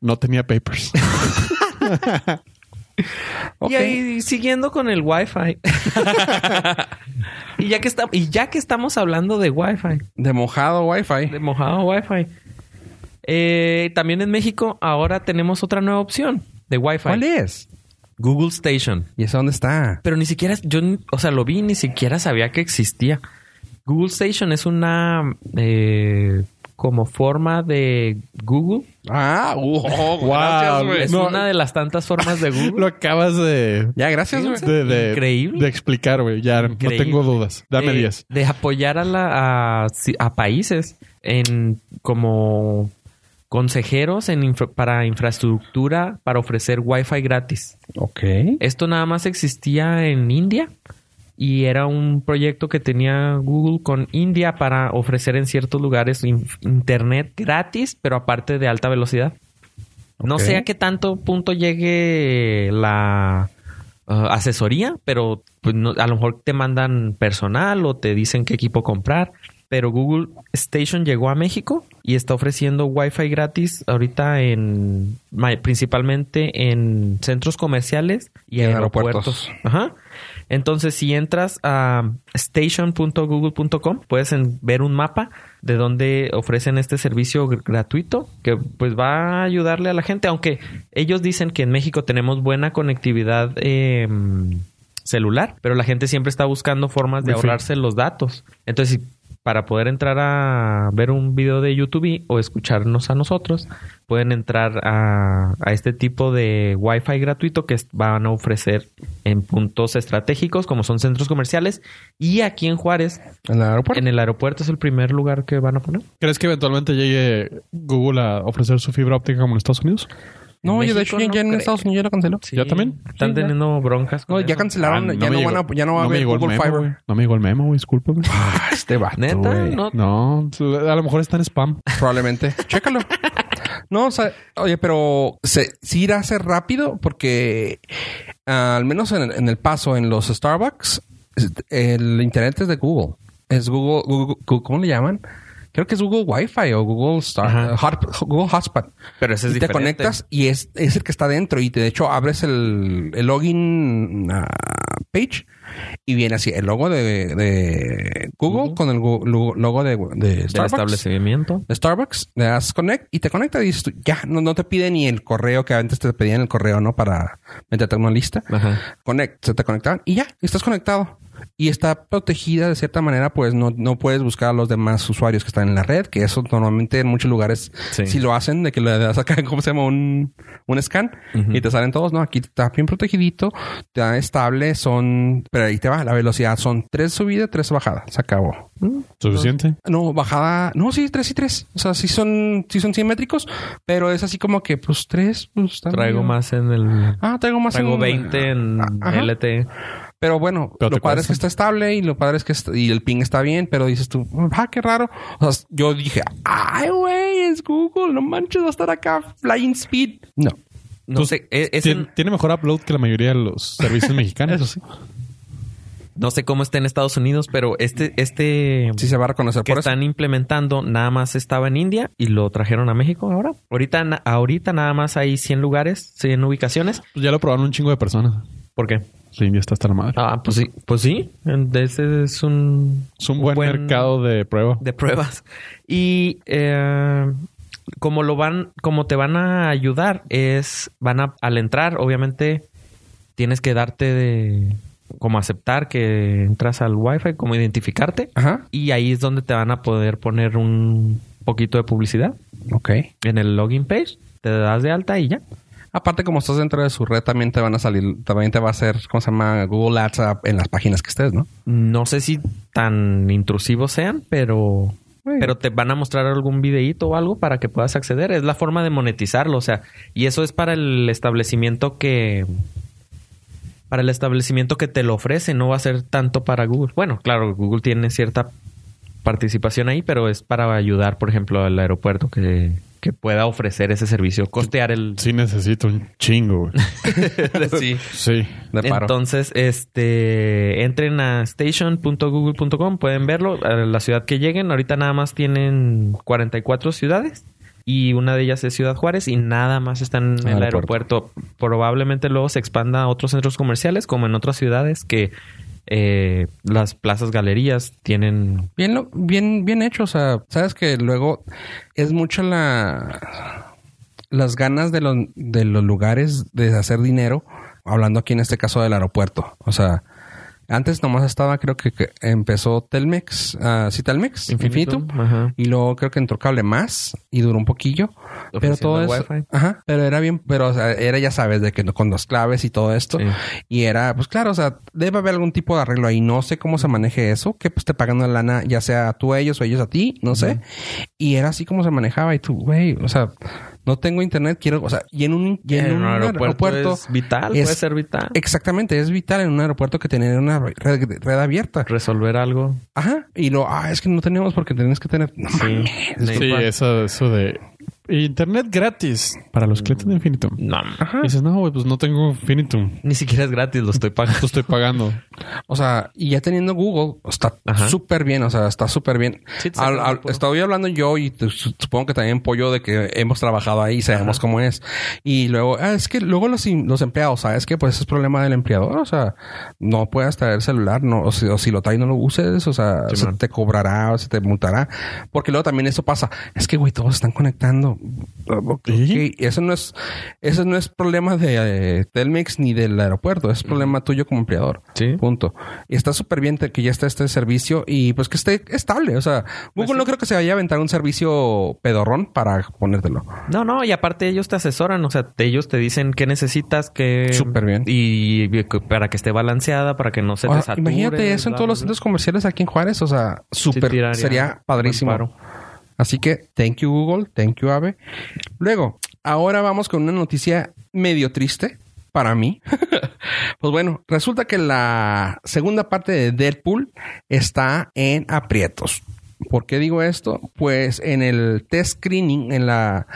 no tenía papers.
Y ahí siguiendo con el Wi-Fi. y, ya que está, y ya que estamos hablando de Wi-Fi,
De mojado Wi-Fi.
de mojado Wi-Fi, eh, también en México ahora tenemos otra nueva opción. de Wi-Fi.
¿Cuál es?
Google Station.
¿Y eso dónde está?
Pero ni siquiera, yo, ni- o sea, lo vi y ni siquiera sabía que existía. Google Station es una eh, como forma de Google.
Ah, uh, oh,
Wow.
gracias, güey.
Es
No.
una de las tantas formas de Google.
Lo acabas de...
Ya, gracias, güey.
de, de-
Increíble.
de explicar, güey. Ya
Increíble. Eh,
no tengo dudas. Dame
de,
10.
De apoyar a, la, a, ci- a países en como consejeros en infra- para infraestructura para ofrecer Wi-Fi gratis.
Ok.
Esto nada más existía en India y era un proyecto que tenía Google con India para ofrecer en ciertos lugares in- internet gratis, pero aparte de alta velocidad. No
Ok.
sé a qué tanto punto llegue la uh, asesoría, pero pues, no- a lo mejor te mandan personal o te dicen qué equipo comprar. Pero Google Station llegó a México y está ofreciendo Wi-Fi gratis ahorita en ma- principalmente en centros comerciales y
En
aeropuertos. Ajá. Entonces, si entras a station.google.com, puedes en- ver un mapa de donde ofrecen este servicio gr- gratuito que pues va a ayudarle a la gente, aunque ellos dicen que en México tenemos buena conectividad eh, celular, pero la gente siempre está buscando formas de
Wifi.
ahorrarse los datos. Entonces, si- para poder entrar a ver un video de YouTube y- o escucharnos a nosotros, pueden entrar a, a este tipo de Wi-Fi gratuito que es- van a ofrecer en puntos estratégicos como son centros comerciales y aquí en Juárez,
¿En el aeropuerto?
en el aeropuerto es el primer lugar que van a poner.
¿Crees que eventualmente llegue Google a ofrecer su fibra óptica como en Estados Unidos?
No,
en
yo de
México
hecho ya,
no
ya en
creo.
Estados Unidos ya lo canceló.
¿Ya también?
Están
Sí, ya.
teniendo broncas. con
No, ya
eso.
cancelaron.
Ah,
ya, no
me
van
llegó-
a, ya no va a
no me
haber
llegó el
Google
memo,
Fiber.
güey. No me llegó el memo, güey. Discúlpame.
Ah, este vato,
Neta,
güey.
no.
No, a lo mejor está en spam.
Probablemente. Chécalo. No, o sea, oye, pero se, sí irá a ser rápido porque ah, al menos en, el- en el paso, en los Starbucks, es- el internet es de Google. Es Google, Google- Google- ¿cómo le llaman? Creo que es Google Wi-Fi o Google Star, ah, Hot- Google Hotspot.
Pero ese es
y te
diferente.
conectas y es, es el que está dentro. Y te- de hecho abres el, el login ah, page y viene así el logo de, de Google con el gu- lu- logo de, de
del
Starbucks.
establecimiento.
De Starbucks, le das connect y te conecta y dices tú, ya, no, no te pide ni el correo que antes te pedían el correo, ¿no? Para meterte en una lista.
Ajá.
Connect, se te conectaban y ya, estás conectado. Y está protegida de cierta manera, pues no, no puedes buscar a los demás usuarios que están en la red, que eso normalmente en muchos lugares
Sí.
si lo hacen, de que le das acá, ¿cómo se llama? Un, un scan y te salen todos, ¿no? Aquí está bien protegidito, te da estable, son, pero ahí te va, la velocidad son tres subidas, tres bajadas, se acabó.
¿Suficiente?
No, bajada. No, sí, tres y tres. O sea, sí son, sí son simétricos, pero es así como que, pues tres, pues está
Traigo
medio-
más en el.
Ah, traigo más.
Traigo
en-
20 en E.
Ajá.
LTE.
Pero bueno,
Pero
lo
te
padre es
cuesta.
que está estable y lo padre es que est- y el ping está bien, pero dices tú, ah, qué raro. O sea, yo dije, ay, güey, es Google, no manches, va a estar acá flying speed. No. e-,
No
Pues,
sé, es- es
Tien-
en-
Tiene mejor upload que la mayoría de los servicios mexicanos. Eso sí. Pues
no sé cómo está en Estados Unidos, pero este, este
Sí se va a reconocer
que
por eso.
están implementando nada más estaba en India y lo trajeron a México ahora. Ahorita, na- ahorita nada más hay 100 lugares, 100 ubicaciones.
Pues ya lo probaron un chingo de personas.
¿Por qué?
Sí, ya está hasta la madre.
Ah, pues sí, pues sí. Ese es un
es un buen,
buen-
mercado de prueba.
de pruebas. Y eh, como lo van, como te van a ayudar, es van a al entrar, obviamente tienes que darte de como aceptar que entras al wifi, como identificarte.
Ajá.
Y ahí es donde te van a poder poner un poquito de publicidad
Ok.
en el login page. Te das de alta y ya.
Aparte, como estás dentro de su red, también te van a salir, también te va a hacer, ¿cómo se llama? Google Ads ah, en las páginas que estés, ¿no?
No sé si tan intrusivos sean, pero
Bueno.
pero te van a mostrar algún videíto o algo para que puedas acceder. Es la forma de monetizarlo, o sea, y eso es para el establecimiento que para el establecimiento que te lo ofrece, no va a ser tanto para Google. Bueno, claro, Google tiene cierta participación ahí, pero es para ayudar, por ejemplo, al aeropuerto que, que pueda ofrecer ese servicio, costear el...
Sí necesito un chingo, güey.
sí.
Sí.
De paro.
Entonces, este, entren a station.google.com, pueden verlo, a la ciudad que lleguen. Ahorita nada más tienen 44 ciudades y una de ellas es Ciudad Juárez y nada más están en el
Aeropuerto.
aeropuerto. Probablemente luego se expanda a otros centros comerciales como en otras ciudades que eh, las plazas galerías tienen...
Bien, lo- bien, bien hecho. O sea, sabes que luego es mucho la. las ganas de los, de los lugares de hacer dinero, hablando aquí en este caso del aeropuerto. O sea, antes nomás estaba, creo que, que empezó Telmex, ah, sí, Telmex, Infinitum,
Infinitum, ajá.
y luego creo que entró Cable Más y duró un poquillo, pero
Ofreciendo
todo eso,
Wi-Fi.
ajá, pero era bien, pero o sea, era ya sabes de que no- con las claves y todo esto,
Sí.
y era, pues claro, o sea, debe haber algún tipo de arreglo ahí, no sé cómo se maneje eso, que pues te pagan la lana, ya sea tú a ellos o ellos a ti, no sé, y era así como se manejaba y tú, güey, o sea, no tengo internet, quiero, o sea, y en un, y en un aeropuerto,
es vital,
es-
puede ser vital.
Exactamente, es vital en un aeropuerto que tener una red, red abierta.
Resolver algo.
Ajá. Y lo, ah, es que no tenemos porque tenemos que tener. No mames.
Sí, eso, eso de internet gratis para los clientes de Infinitum.
No,
Y dices, no, güey, pues no tengo Infinitum.
ni siquiera es gratis, lo estoy
Lo
pagando.
estoy pagando.
O sea, y ya teniendo Google, está
Ajá.
súper bien. O sea, está súper bien.
Sí, te
Al-
saca
al-
tiempo.
estoy hablando yo y te- su- supongo que también pollo de que hemos trabajado ahí y sabemos cómo es. Y luego, ah, es que luego los, im- los empleados, ¿sabes que Pues es problema del empleador. O sea, no puedes traer celular, no, o, si, o si lo traes, no lo uses. O sea, se te cobrará o se te multará. Porque luego también eso pasa. Es que, güey, todos están conectando. Ok,
¿Sí?
Eso no es, eso no es problema de eh, Telmex ni del aeropuerto. Es problema tuyo como empleador.
Sí.
Punto. Y está súper bien te- que ya está este servicio y pues que esté estable. O sea, Google no creo que se vaya a aventar un servicio pedorrón para ponértelo.
No, no, y aparte ellos te asesoran, o sea, te- ellos te dicen qué necesitas, qué...
Súper bien.
Y, y que- para que esté balanceada, para que no se
Ahora,
te sature.
imagínate eso en
bla, bla,
todos los
bla.
centros comerciales aquí en Juárez. O sea, súper.
tiraría
sería padrísimo.
buen paro.
Así que, thank you Google, thank you Ave. Luego, ahora vamos con una noticia medio triste para mí. pues bueno, resulta que la segunda parte de Deadpool está en aprietos. ¿Por qué digo esto? Pues en el test screening, en la...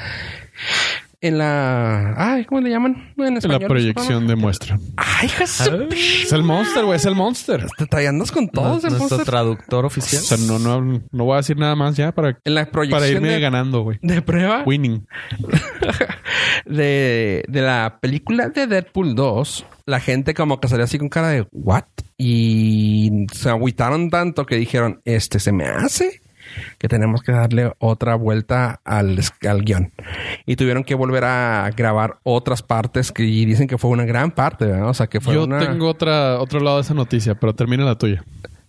En la... Ay, ¿cómo le llaman? En
La
español,
proyección de muestra.
Ay, hija de su pi-
Es el monster, güey, es el monster.
Te te andas con todos
Nuestro
el póster.
traductor
O
oficial.
sea, no, no, no voy a decir nada más ya para,
En la proyección
para irme
de-
ganando, güey.
de prueba.
Winning.
de, de la película de Deadpool 2, la gente como que salió así con cara de ¿what? Y se agüitaron tanto que dijeron, este se me hace que tenemos que darle otra vuelta al, al guión. Y tuvieron que volver a grabar otras partes que y dicen que fue una gran parte, ¿verdad? O sea, que fue
Yo
una...
tengo otra, otro lado de esa noticia, pero termina la tuya.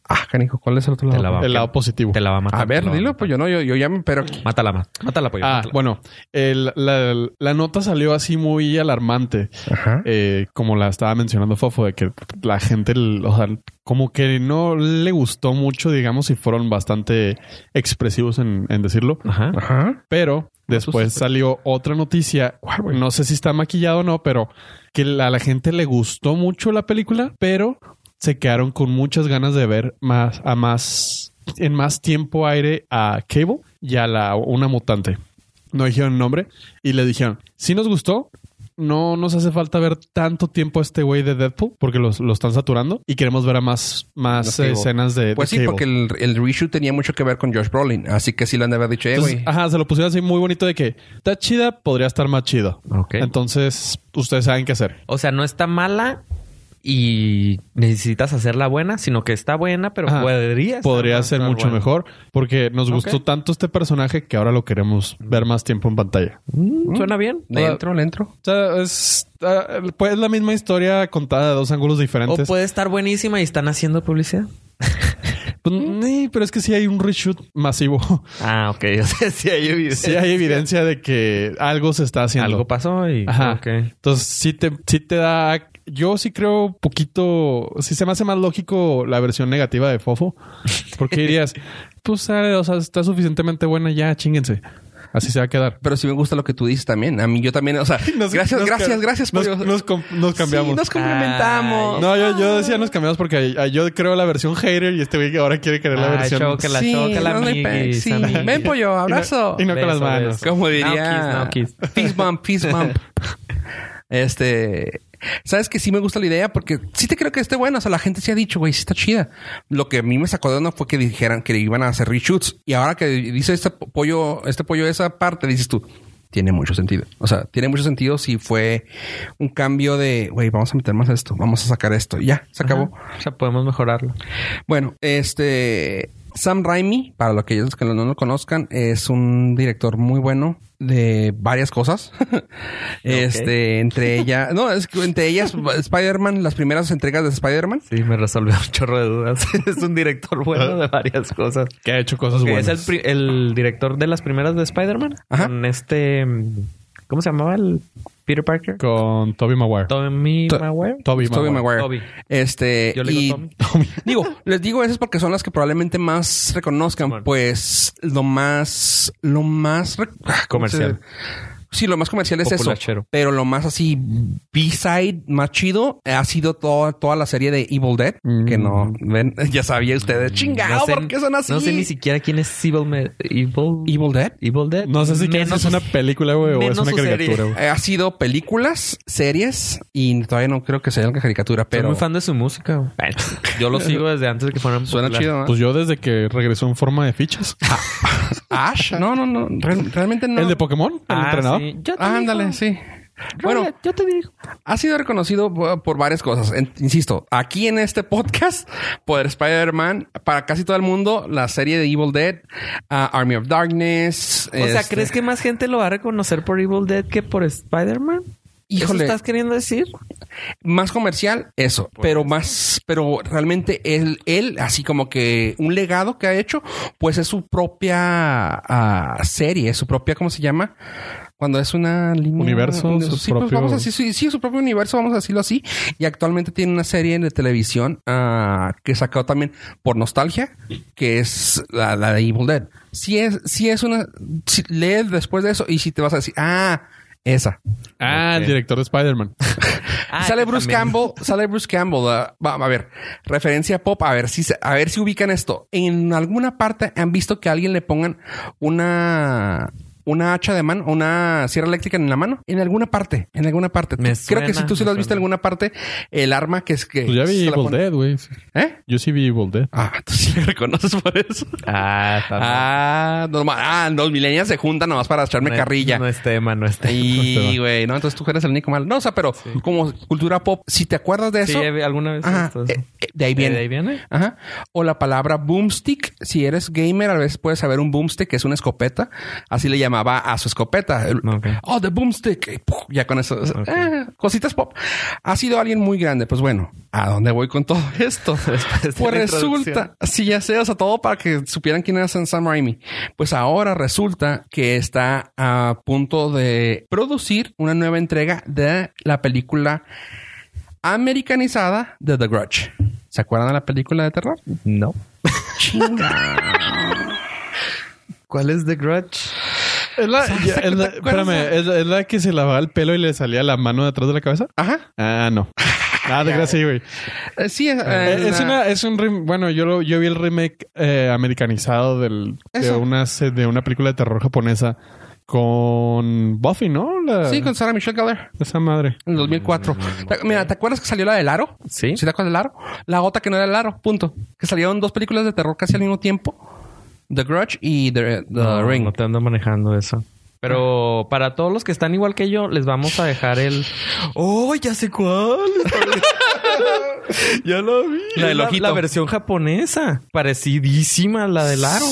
Ah, canijo, ¿cuál es el otro
Te
lado?
la va-
El lado positivo.
Te la va a matar.
A
te
ver,
la va a
dilo,
matar.
pues yo no, yo, yo ya me... Pero
Mátala, ma- mátala, pollo.
Ah,
mátala.
bueno, el- la, la nota salió así muy alarmante,
Ajá.
eh, como la estaba mencionando Fofo, de que la gente, l- o sea, como que no le gustó mucho, digamos, y fueron bastante expresivos en, en decirlo.
Ajá.
Ajá.
Pero después salió otra noticia, no sé si está maquillado o no, pero que la- a la gente le gustó mucho la película, pero se quedaron con muchas ganas de ver más a más en más tiempo aire a Cable y a la una mutante. No dijeron nombre y le dijeron, si nos gustó, no nos hace falta ver tanto tiempo a este güey de Deadpool porque los- lo están saturando y queremos ver a más, más
De Cable.
escenas de, de
Pues sí,
Cable".
porque el, el reshoot tenía mucho que ver con Josh Brolin. Así que sí lo han de haber dicho, eh,
Entonces,
güey.
ajá, se lo pusieron así muy bonito de que está chida, podría estar más chido.
Ok.
Entonces, ustedes saben qué hacer.
O sea, no está mala y necesitas hacerla buena, sino que está buena, pero
Ajá.
podría
Podría
estar
ser
más
mucho
buena.
mejor porque nos gustó
Ok.
tanto este personaje que ahora lo queremos ver más tiempo en pantalla.
Mm, Suena bien.
Le
ah,
entro, le entro.
O sea, es, ah, pues, es la misma historia contada de dos ángulos
O
diferentes.
puede estar buenísima y están haciendo publicidad.
Pues, ni, pero es que sí hay un reshoot masivo.
Ah, ok. O sea, sí hay evidencia.
sí hay evidencia de que algo se está haciendo.
Algo pasó y...
Ajá.
Ok.
Entonces, sí te, sí te da. Yo sí creo poquito. Sí se me hace más lógico la versión negativa de Fofo. Porque dirías, pues, sale, o sea, está suficientemente buena ya, chinguense. Así se va a quedar.
Pero sí me gusta lo que tú dices también. A mí yo también, o sea,
Nos-
gracias,
nos
gracias,
ca-
gracias.
Nos,
pollo.
nos com- nos cambiamos.
Sí, nos complementamos.
No, yo, yo decía nos cambiamos porque ah, yo creo la versión hater y este güey que ahora quiere querer la
Ah,
versión.
chócala,
Sí,
chócala,
no, no hay pe-
amiguis,
sí.
amiguis.
Ven, pollo, abrazo.
Y no con las
Beso,
manos.
beso.
Como diría...
Now kiss, now kiss.
Fist bump, fist bump. este... Sabes que sí me gusta la idea porque sí te creo que esté buena. O sea, la gente sí ha dicho, güey, sí está chida. Lo que a mí me sacó de onda fue que dijeran que iban a hacer reshoots. Y ahora que dice este pollo, este pollo esa parte, dices tú, tiene mucho sentido. O sea, tiene mucho sentido si fue un cambio de, güey, vamos a meter más esto, vamos a sacar esto. Y ya, se acabó.
O sea, podemos mejorarlo.
Bueno, este. Sam Raimi, para los que ellos que no lo conozcan, es un director muy bueno de varias cosas. Este, entre ellas, no, es que entre ellas Spider-Man, las primeras entregas de Spider-Man.
Sí, me resolvió un chorro de dudas. es un director bueno de varias cosas.
Que ha hecho cosas
Que
buenas.
es el, pri- el director de las primeras de Spider-Man.
Ajá.
Con este... mm, ¿Cómo se llamaba el Peter Parker?
Con Toby Maguire.
Tommy
To-
Maguire.
Toby
Tobey Maguire.
Maguire.
Tobey.
Este,
Yo le digo
y-
Tommy.
Digo, les digo esas porque son las que probablemente más reconozcan,
Simón.
pues lo más, lo más re- ¿cómo se-
Comercial.
Sí, lo más comercial es
Populachero.
eso, pero lo más así B-side, más chido, ha sido toda, toda la serie de Evil Dead, que no ven, ya sabía ustedes, chingado,
Mm. No sé-
¿por qué son así?
No sé ni siquiera quién es Evil... Me- Evil...
Evil Dead.
Evil Dead.
No sé si quieres
Menos
es una película, güey, o es
menos
una
su serie.
caricatura, güey.
Eh, Ha sido películas, series y todavía no creo que sea la caricatura,
Soy
pero
muy fan de su música. güey. Yo lo sigo desde antes de que fueran
suena
populares.
chido. ¿no?
Pues yo desde que regresó en forma de fichas.
Ash, no, no, no, real- realmente no.
¿El de Pokémon? ¿El
Ah,
entrenador?
sí. Yo te
Ah, ándale,
digo.
sí.
Bueno,
Bueno,
yo te digo.
ha sido reconocido por por varias cosas. En- Insisto, aquí en este podcast, por Spider-Man, para casi todo el mundo, la serie de Evil Dead, ah, Army of Darkness. este,
O sea, ¿crees que más gente lo va a reconocer por Evil Dead que por Spider-man?
Híjole.
¿Eso estás queriendo decir?
más comercial? Eso, pero más, pero realmente él, él, así como que un legado que ha hecho, pues es su propia ah, serie, su propia, ¿cómo se llama? Cuando es una línea.
Universo, su
sí, pues,
propio-
vamos a decir, sí, sí, su propio universo, vamos a decirlo así. Y actualmente tiene una serie de televisión ah, que sacó también por nostalgia, que es la, la de Evil Dead. Si es, si es una, si lees después de eso y si te vas a decir, ah, esa.
Ah, el director de Spider-Man.
Ah,
sale
que
Bruce
también.
Campbell, sale Bruce Campbell. ah, va- a ver, referencia pop, a ver si se- a ver si ubican esto. En alguna parte han visto que a alguien le pongan una una hacha de mano, una sierra eléctrica en la mano, en alguna parte, en alguna parte.
Me
Creo que si
suena,
tú sí
me
lo has visto
suena.
en alguna parte, el arma que es que
Pues ya
se
vi
la
Evil
pone-
Dead, güey.
¿Eh?
Yo sí vi Evil Dead.
Ah, tú sí me reconoces por eso.
Ah, está mal.
Ah, normal. Ah, los milenias se juntan nomás para echarme
No es-
carrilla.
No es tema, no es tema.
Y, güey, no, entonces tú eres el único mal. No, o sea, pero como cultura pop, si te acuerdas de
Sí,
eso,
eh, alguna vez.
Ajá,
esto-
eh, eh, de ahí viene.
¿De ahí viene?
Ajá. O la palabra boomstick. Si eres gamer, a veces puedes saber un boomstick, que es una escopeta. Así le llamaba a su escopeta. El-
Ok.
Oh, the boomstick. Y ¡puf! Ya con eso. eh, cositas pop. Ha sido alguien muy grande. Pues bueno, ¿a dónde voy con todo esto?
de
pues
la
resulta, si ya sé, o sea, todo para que supieran quién era Sam Raimi. Pues ahora resulta que está a punto de producir una nueva entrega de la película americanizada de The Grudge. ¿Se acuerdan de la película de terror?
No. ¿Cuál es The Grudge?
Es la, ya- es la-
¿Te acuerdas
espérame, ¿es la, es la que se lavaba el pelo y le salía la mano de atrás de la cabeza?
Ajá.
Ah, no. Ah, de gracia, güey.
Eh, sí, es,
Eh,
eh,
Es, una, es un rem- bueno, yo lo- yo vi el remake eh, americanizado del, de,
Eso.
una, se- de una película de terror japonesa con Buffy, ¿no? La-
Sí, con Sarah Michelle Gellar.
esa madre.
En el 2004.
Mm,
Ta- Mira, ¿te acuerdas que salió la del aro?
Sí.
¿Sí te acuerdas del aro? La otra que no era el aro, punto. Que salieron dos películas de terror casi al mismo tiempo. The Grudge y The, The
no,
Ring.
no te ando manejando eso. Pero para todos los que están igual que yo, les vamos a dejar el. ¡Oh, ya sé cuál! ya la vi.
La del
la,
ojito.
la versión japonesa. Parecidísima a la del aro.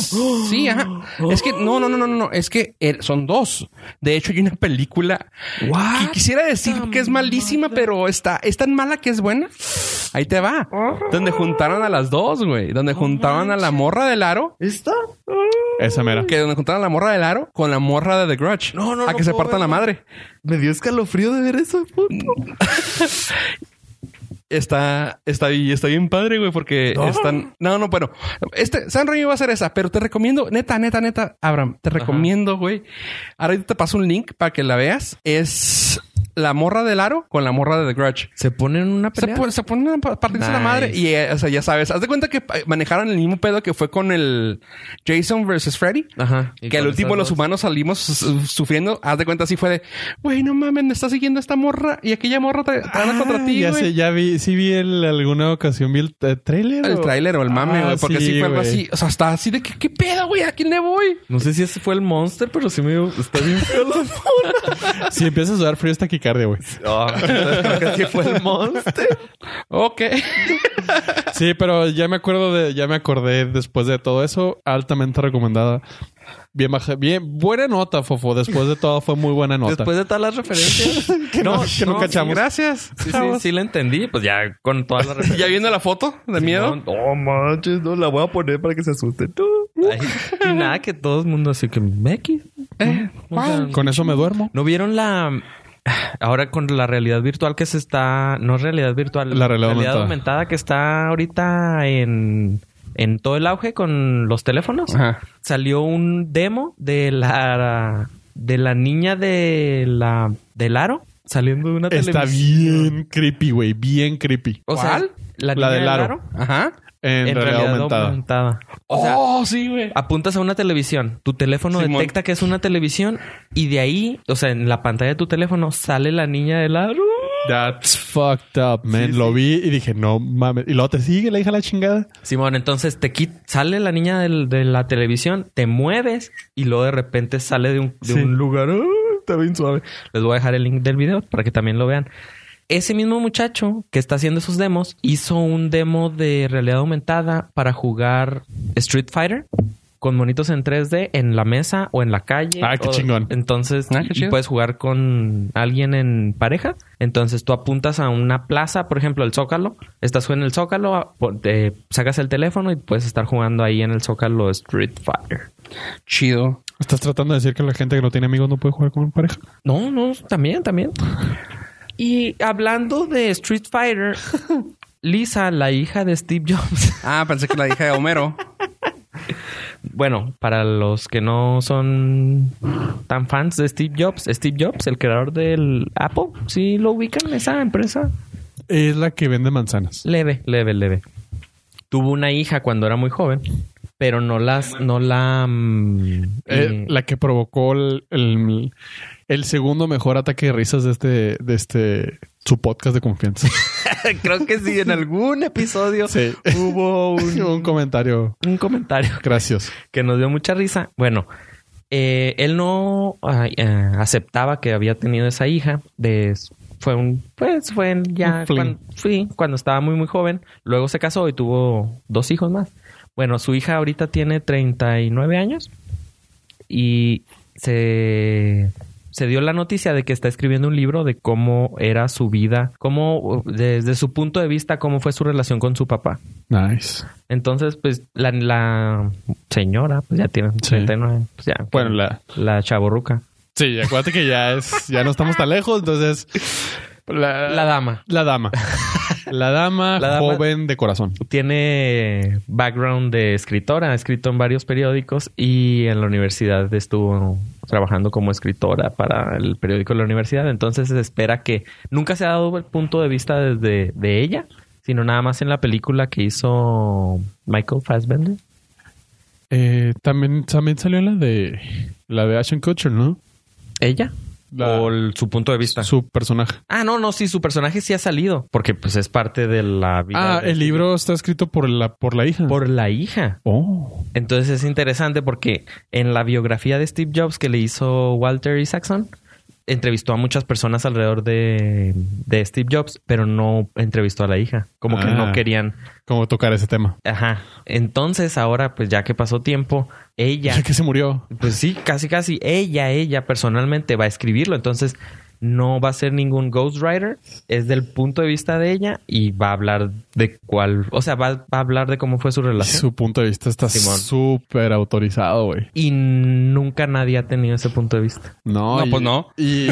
Sí, ajá. Es que no, no, no, no, no, no. Es que eh, son dos. De hecho, hay una película que quisiera decir que es malísima, pero está, es tan mala que es buena. Ahí te va. Donde juntaron a las dos, güey. Donde juntaron a la morra del aro.
¿Esta?
Esa mera.
Que donde juntaron a la morra del aro con la morra de The Grudge.
No, no,
A
no
que se
puedo
partan la
verla.
madre.
Me dio escalofrío de ver eso.
Está, está, bi- está bien padre, güey, porque están. No, no, bueno. Este, San Raimi va a ser esa, pero te recomiendo, neta, neta, neta, Abraham, te recomiendo, güey. Ahora yo te paso un link para que la veas. Es la morra del aro con la morra de The Grudge.
Se ponen una
Se,
pelea.
pone- se ponen a pa- partirse la
Nice.
madre y, eh, o sea, ya sabes, haz de cuenta que eh, manejaron el mismo pedo que fue con el Jason versus Freddy.
Ajá. Y
Que al
con
último
esas
los
dos.
humanos salimos su- sufriendo. Haz de cuenta así fue de, güey, no mames, me está siguiendo esta morra y aquella morra te, te
Ah,
van a contra ti.
Ah, ya
güey".
sé, ya vi, sí vi en alguna ocasión, vi el eh, tráiler.
El tráiler o el mame,
Ah,
güey. Porque sí, fue algo
güey.
así. O sea, está así de que, ¿qué pedo, güey? ¿A quién le voy?
No sé si ese fue el monster, pero sí me dio. Está bien feo la-
Si empiezas a sudar frío hasta que taquicardia, güey.
No, Oh, creo que sí fue el monster.
Ok.
Sí, pero ya me acuerdo de, ya me acordé después de todo eso, altamente recomendada. Bien baja, bien, buena nota, Fofo. Después de todo fue muy buena nota.
Después de todas las referencias. que no,
que no cachamos.
Gracias.
Sí, sí, sí la entendí. Pues ya con todas las referencias.
¿Ya viendo la foto de miedo?
No, oh, manches, no la voy a poner para que se asusten.
Ay, y nada, que todo el mundo así que Meki. Eh, o sea,
Con eso me duermo.
¿No vieron la... Ahora con la realidad virtual que se está... No realidad virtual.
La realidad aumentada.
que está ahorita en... En todo el auge con los teléfonos.
Ajá.
Salió un demo de la... De la niña de la... Del aro. Saliendo de una
Está
televisión.
bien creepy, güey. Bien creepy.
O sea,
¿Cuál?
la,
La
niña
del
del
aro.
aro.
Ajá.
En, realidad, aumentada.
aumentada. O sea,
Oh, sí, güey.
apuntas a una televisión, tu teléfono
Simón.
detecta que es una televisión y de ahí, o sea, en la pantalla de tu teléfono sale la niña del aro.
That's fucked up, man. Lo vi y dije, no mames. Y luego te sigue la hija de la chingada.
Simón, entonces te quit- sale la niña del- de la televisión, te mueves y luego de repente sale de un, de
Sí.
un lugar. ¡Ah! está bien suave. Les voy a dejar el link del video para que también lo vean. Ese mismo muchacho que está haciendo esos demos hizo un demo de realidad aumentada para jugar Street Fighter con monitos en 3D en la mesa o en la calle.
Ah, qué
O-
chingón.
Entonces,
Ah, qué
y
chido.
puedes jugar con alguien en pareja. Entonces, tú apuntas a una plaza, por ejemplo, el Zócalo. Estás en el Zócalo, a- por- te sacas el teléfono y puedes estar jugando ahí en el Zócalo Street Fighter.
Chido.
¿Estás tratando de decir que la gente que no tiene amigos no puede jugar con pareja?
No, no, también, también. Y hablando de Street Fighter, Lisa, la hija de Steve Jobs.
Ah, pensé que la hija de Homero.
Bueno, para los que no son tan fans de Steve Jobs, Steve Jobs, el creador del Apple, ¿sí lo ubican esa empresa?
Es la que vende manzanas.
Leve, leve, leve. Tuvo una hija cuando era muy joven, pero no las, no la, mm,
Eh,
eh,
la que provocó el, el, el segundo mejor ataque de risas de este, de este, su podcast de confianza.
creo que sí en algún episodio
Sí.
hubo un,
Un comentario
un comentario
gracioso.
que nos dio mucha risa. Bueno, eh, él no ah, eh, aceptaba que había tenido esa hija. De, fue un, pues fue en- ya
Un fling.
cuando, sí, cuando estaba muy, muy joven. Luego se casó y tuvo dos hijos más. Bueno, su hija ahorita tiene 39 años y se, se dio la noticia de que está escribiendo un libro de cómo era su vida, cómo, desde su punto de vista, cómo fue su relación con su papá.
Nice.
Entonces, pues, la, la señora, pues ya tiene
Sí.
39, pues ya.
Bueno, la,
La chaborruca.
sí, acuérdate que ya es, ya no estamos tan lejos, entonces. La,
La dama.
la dama. La dama,
La dama-
joven de corazón.
Tiene background de escritora, ha escrito en varios periódicos y en la universidad estuvo trabajando como escritora para el periódico de la universidad. Entonces se espera que nunca se ha dado el punto de vista desde de ella, sino nada más en la película que hizo Michael Fassbender.
Eh, también, también salió la de la de Ashton Kutcher, ¿no?
¿Ella?
La-
¿O el- su punto de vista?
Su personaje.
Ah, no, no, sí, su personaje sí ha salido. Porque pues es parte de la vida.
Ah,
de-
el libro está escrito por la por la hija.
Por la hija.
Oh.
Entonces es interesante porque en la biografía de Steve Jobs que le hizo Walter Isaacson, entrevistó a muchas personas alrededor de, de Steve Jobs, pero no entrevistó a la hija. Como que
Ah.
no querían.
Como tocar ese tema.
Ajá. Entonces ahora, pues ya que pasó tiempo, ella
Ya que se murió.
pues sí, casi casi ella, ella personalmente va a escribirlo, entonces no va a ser ningún ghostwriter, es del punto de vista de ella y va a hablar de cuál, o sea, va, va a hablar de cómo fue su
Y
relación.
su punto de vista está
Simón.
súper autorizado, güey.
Y nunca nadie ha tenido ese punto de vista.
No,
No,
y-
pues no.
Y,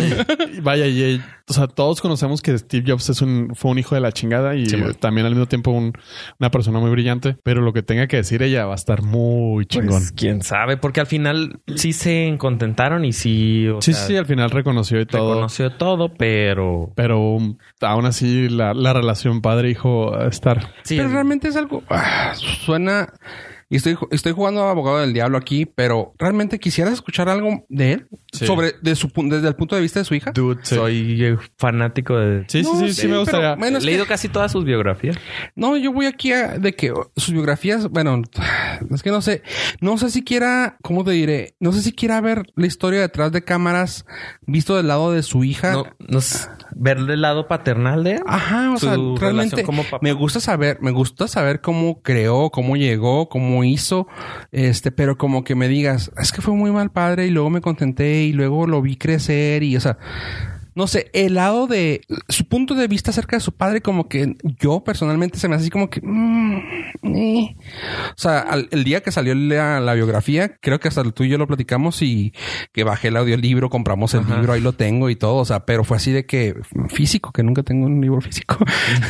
y vaya, y, o sea, todos conocemos que Steve Jobs es un, fue un hijo de la chingada y
Simón.
también al mismo tiempo un- una persona muy brillante, pero lo que tenga que decir ella va a estar muy chingón.
Pues, quién sabe, porque al final sí se contentaron y sí, o
sí,
sea,
sí, al final reconoció y todo.
reconoció todo, pero
Pero um, aún así la, la relación padre-hijo va a estar.
sí,
Pero
es-
realmente es algo. ah, suena Y estoy, ju- estoy jugando a abogado del diablo aquí, pero realmente quisieras escuchar algo de él
Sí.
sobre de su pu- desde el punto de vista de su hija.
Dude, soy eh, fanático de...
Sí,
No,
sí, sí, sí,
sí,
me
pero
gustaría.
bueno, es
He leído
que-
casi todas sus biografías.
no, yo voy aquí a, de que sus biografías, bueno, es que no sé, no sé si quiera, ¿cómo te diré? No sé si quiera ver la historia detrás de cámaras visto del lado de su hija.
No, no s- ver el lado paternal de él.
Ajá, o
Su
sea,
relación
realmente
como papá.
me gusta saber, me gusta saber cómo creó, cómo llegó, cómo hizo, este, pero como que me digas, es que fue muy mal padre y luego me contenté y luego lo vi crecer y, o sea, no sé, el lado de su punto de vista acerca de su padre, como que yo personalmente se me hace así como que, mm, eh. o sea, al- el día que salió la, la biografía, creo que hasta tú y yo lo platicamos y que bajé el audiolibro, compramos el libro, ahí lo tengo y todo, o sea, pero fue así de que físico, que nunca tengo un libro físico,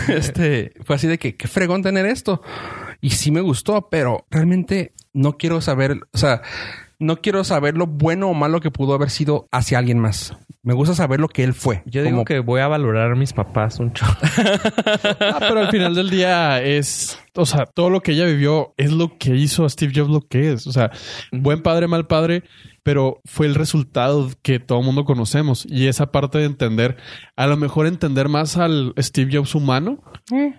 este, fue así de que qué fregón tener esto y sí me gustó, pero realmente no quiero saber, o sea, no quiero saber lo bueno o malo que pudo haber sido hacia alguien más. Me gusta saber lo que él fue.
Yo digo
Como-
que voy a valorar a mis papás un chorro.
Ah, pero al final del día es, o sea, todo lo que ella vivió es lo que hizo a Steve Jobs lo que es. O sea, buen padre, mal padre, pero fue el resultado que todo el mundo conocemos. Y esa parte de entender, a lo mejor entender más al Steve Jobs humano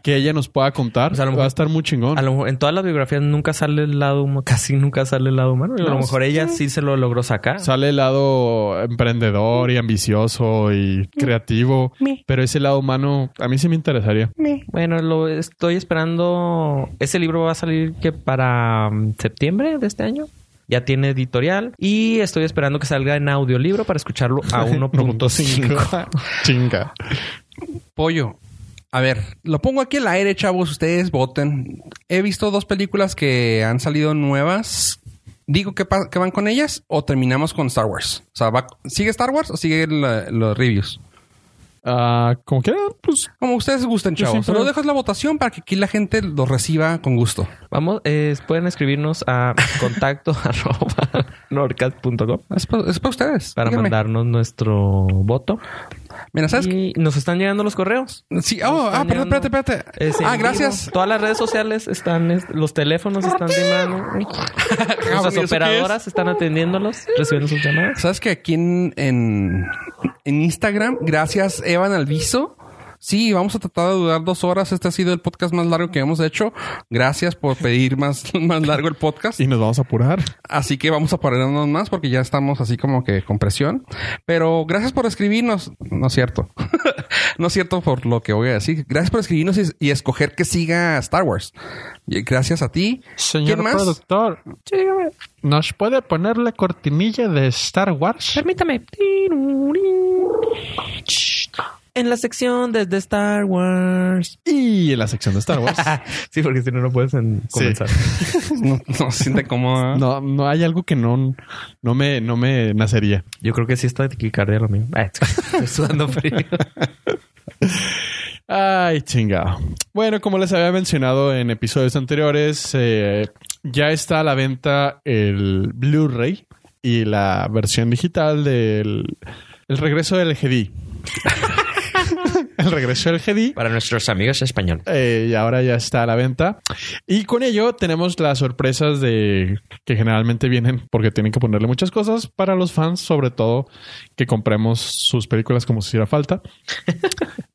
que ella nos pueda contar,
O sea, a lo
va a
mejor-
estar muy chingón.
A lo mejor en todas las biografías nunca sale el lado humano, casi nunca sale el lado humano. Digo, a
No,
lo mejor ella sí se lo logró sacar.
Sale el lado emprendedor y ambicioso y creativo, pero ese lado humano a mí sí me interesaría.
Bueno, lo estoy esperando. Ese libro va a salir que para mm, septiembre de este año. Ya tiene editorial y estoy esperando que salga en audiolibro para escucharlo a 1.5.
Chinga.
Pollo. A ver, lo pongo aquí al aire, chavos. Ustedes voten. He visto dos películas que han salido nuevas. Digo que, pa- que van con ellas o terminamos con Star Wars. O sea, va- ¿sigue Star Wars o sigue la- los reviews?
Ah, como quieran, pues
Como ustedes gusten,
Yo
chavos.
siempre-
Solo dejas la votación para que aquí la gente lo reciba con gusto.
Vamos, eh, pueden escribirnos a contacto arroba norcast.com
Es para, es para ustedes.
para
Díganme.
mandarnos nuestro voto.
Mira, ¿sabes?
Y nos están llegando los correos.
Sí, oh, ah, perdón, espérate, espérate.
Es en
ah,
vivo.
gracias.
Todas las redes sociales están, es- los teléfonos están de mano.
¿eso qué
Nuestras
es?
operadoras están atendiéndolos, recibiendo sus llamadas.
¿Sabes que aquí en, en, en Instagram, gracias Evan Alviso? Sí, vamos a tratar de durar dos horas. Este ha sido el podcast más largo que hemos hecho. Gracias por pedir más, más largo el podcast.
y nos vamos a apurar.
Así que vamos a ponernos más porque ya estamos así como que con presión. Pero gracias por escribirnos. No es cierto. no es cierto por lo que voy a decir. Gracias por escribirnos y, y escoger que siga Star Wars. Y gracias a ti.
Señor productor, ¿nos puede poner la cortinilla de Star Wars?
Permítame. En la sección desde Star Wars.
Y en la sección de Star Wars.
Ah, Sí, porque si no, no puedes en- comenzar.
No, no se siente cómodo.
No, no hay algo que no, no me, no me nacería.
Yo creo que sí está de taquicardia lo mío. Ah, Estoy sudando frío.
Ay, chingado. Bueno, como les había mencionado en episodios anteriores, eh, ya está a la venta el Blu-ray y la versión digital del el regreso del GD. el regreso del GD.
Para nuestros amigos españoles.
Eh, y ahora ya está a la venta. Y con ello tenemos las sorpresas de que generalmente vienen porque tienen que ponerle muchas cosas para los fans, sobre todo que compremos sus películas como si hiciera falta.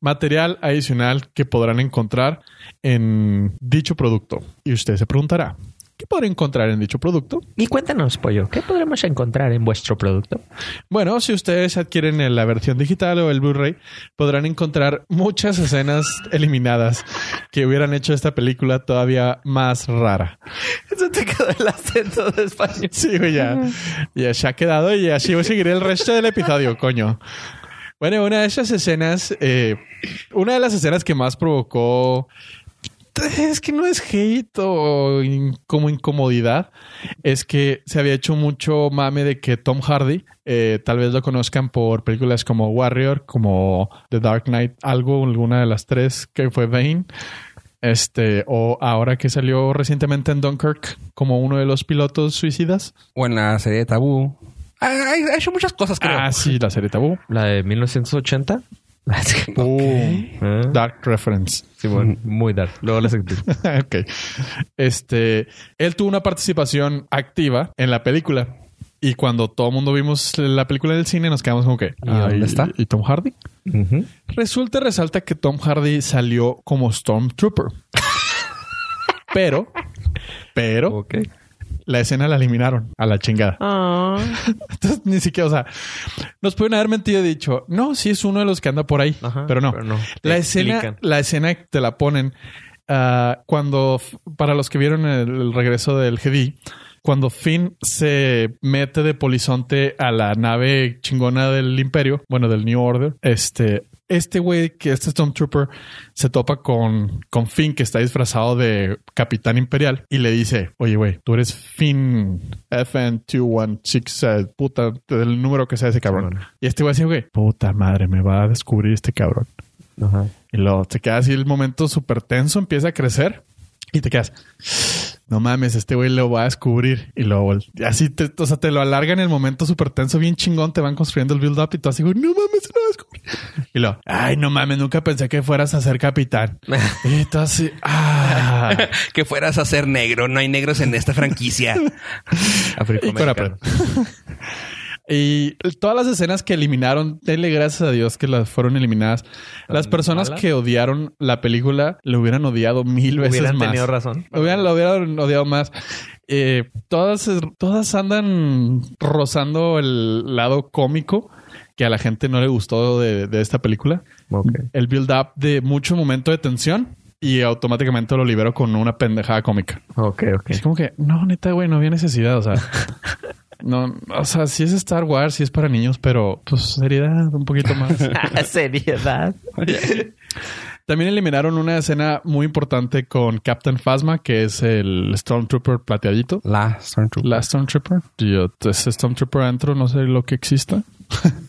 Material adicional que podrán encontrar en dicho producto. Y usted se preguntará, ¿qué podré encontrar en dicho producto?
Y cuéntanos, pollo, ¿qué podremos encontrar en vuestro producto?
Bueno, si ustedes adquieren el- la versión digital o el Blu-ray, podrán encontrar muchas escenas eliminadas que hubieran hecho esta película todavía más rara.
Eso te quedó el acento de español.
Sí, güey, ya, ya se ha quedado y así voy a seguir el resto del episodio, coño. Bueno, una de esas escenas, eh, una de las escenas que más provocó, es que no es hate o in- como incomodidad, es que se había hecho mucho mame de que Tom Hardy, eh, tal vez lo conozcan por películas como Warrior, como The Dark Knight, algo, alguna de las tres que fue Bane. Este, o ahora que salió recientemente en Dunkirk como uno de los pilotos suicidas.
O en la serie de Tabú. Ha, ha- ha hecho muchas cosas, creo.
Ah, sí, la serie Tabú.
La de 1980.
Pum. Uh,
Ah.
Dark reference.
Simón, muy dark. Luego les explico.
ok. Este, él tuvo una participación activa en la película. Y cuando todo el mundo vimos la película del cine, nos quedamos como que.
¿Y dónde
"Ay,
está?"
¿Y Tom Hardy? Resulta y resalta que Tom Hardy salió como Stormtrooper. pero, pero,
Ok.
la escena la eliminaron a la chingada.
Ah.
Ah,
Entonces, ni siquiera, o sea, nos pueden haber mentido y dicho, no, sí es uno de los que anda por ahí,
Ajá,
pero no.
pero no. Te
La, escena,
explican.
la escena te la ponen ah, cuando, f- para los que vieron el, el regreso del Jedi, cuando Finn se mete de polizonte a la nave chingona del Imperio, bueno, del New Order, este. Este güey, que este Stormtrooper, se topa con, con Finn, que está disfrazado de Capitán Imperial, y le dice, oye, güey, tú eres Finn FN216, eh, puta, del número que sea ese cabrón. Y este güey así, güey, puta madre, me va a descubrir este cabrón. Y luego te queda así el momento súper tenso, empieza a crecer y te quedas. No mames, este güey lo va a descubrir. Y luego vol- y así te, o sea, te lo alargan en el momento súper tenso, bien chingón. Te van construyendo el build up y tú así, güey, no mames, se lo va a descubrir. Y luego, ay, no mames, nunca pensé que fueras a ser capitán. y tú así, ah.
que fueras a ser negro. No hay negros en esta franquicia.
Y con
Afroamericano.
apret. Y todas las escenas que eliminaron, denle gracias a Dios que las fueron eliminadas. Las personas
malas?
que odiaron la película le hubieran odiado mil veces
Hubieran
más.
tenido razón.
Lo hubieran, lo hubieran odiado más. Eh, todas, todas andan rozando el lado cómico que a la gente no le gustó de, de esta película.
Ok.
El build-up de mucho momento de tensión y automáticamente lo libero con una pendejada cómica.
Ok, ok.
Es como que, no, neta, güey, no había necesidad. O sea, no, o sea, si es Star Wars, si es para niños, pero pues seriedad un poquito más.
Seriedad.
También eliminaron una escena muy importante con Captain Phasma, que es el Stormtrooper plateadito.
La Stormtrooper.
La Stormtrooper. Yo, ese Stormtrooper antro, no sé lo que exista.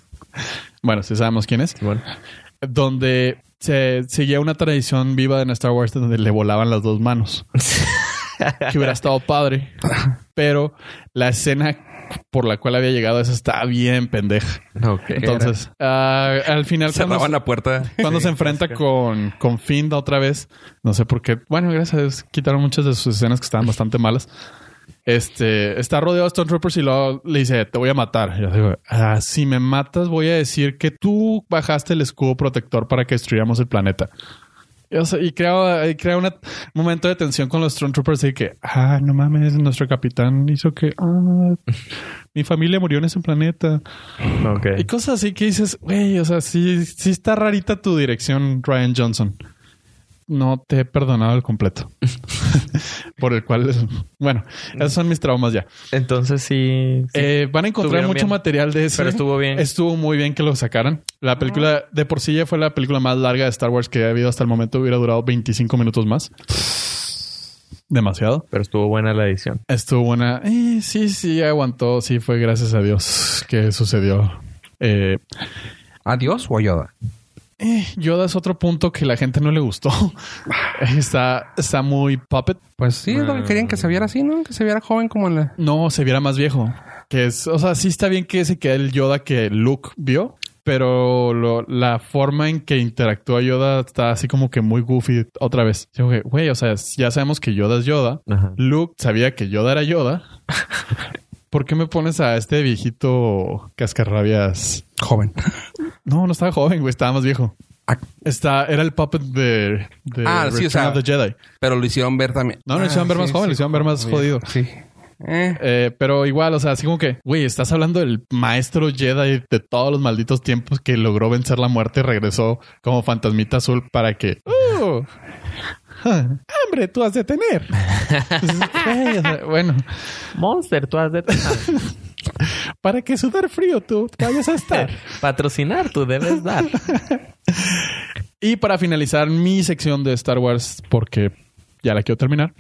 bueno, sí sabemos quién es. Donde se seguía una tradición viva en Star Wars donde le volaban las dos manos. que hubiera estado padre. Pero la escena por la cual había llegado esa está bien pendeja.
Ok.
Entonces, ah, al final cuando-
Cerraban la puerta.
cuando se enfrenta con, con Finn la otra vez, no sé por qué. Bueno, gracias a Dios, quitaron muchas de sus escenas que estaban bastante malas. Este está rodeado de Stormtroopers y luego le dice: Te voy a matar. Y yo digo, "Ah, si me matas, voy a decir que tú bajaste el escudo protector para que destruyamos el planeta. Y, o sea, y crea, y crea un momento de tensión con los Stormtroopers y que, ah, no mames, nuestro capitán hizo que, ah, mi familia murió en ese planeta.
Ok.
Y cosas así que dices, güey, o sea, sí, sí está rarita tu dirección, Ryan Johnson. No te he perdonado el completo. Por el cual, bueno, esos son mis traumas ya.
Entonces sí. sí.
Eh, van a encontrar
Estuvieron
mucho
bien.
material de eso.
Pero estuvo bien. Ah.
Estuvo muy bien que lo sacaran. La película de por sí ya fue la película más larga de Star Wars que ha habido hasta el momento. Hubiera durado 25 minutos más. Demasiado.
Pero estuvo buena la edición.
Estuvo buena. Eh, sí, sí, aguantó. Sí, fue gracias a Dios que sucedió. Eh,
¿Adiós o a Yoda?
Eh, Yoda es otro punto que la gente no le gustó. está, está muy puppet.
Pues sí, es lo que querían que se viera así, ¿no? Que se viera joven como en la.
No, se viera más viejo. Que es, o sea, sí está bien que ese que el Yoda que Luke vio, pero lo- la forma en que interactúa Yoda está así como que muy goofy otra vez. Así como que, Güey, o sea, ya sabemos que Yoda es Yoda.
Ajá.
Luke sabía que Yoda era Yoda. ¿Por qué me pones a este viejito cascarrabias?
Joven.
No, no estaba joven, güey, estaba más viejo.
Ah.
Está, era el puppet de, de
Ah, sí, o sea,
of the Jedi.
Pero lo hicieron ver también.
No, lo hicieron ver más joven, lo hicieron ver más jodido.
Sí. Eh,
Eh, pero igual, o sea, así como que, güey, estás hablando del maestro Jedi de todos los malditos tiempos que logró vencer la muerte y regresó como fantasmita azul para que... ¡Uh! Ah, ¡Hambre tú has de tener! Güey, o sea, bueno,
Monster, tú has de
para que sudar frío tú vayas a estar.
patrocinar, tú debes dar.
Y para finalizar mi sección de Star Wars, porque ya la quiero terminar.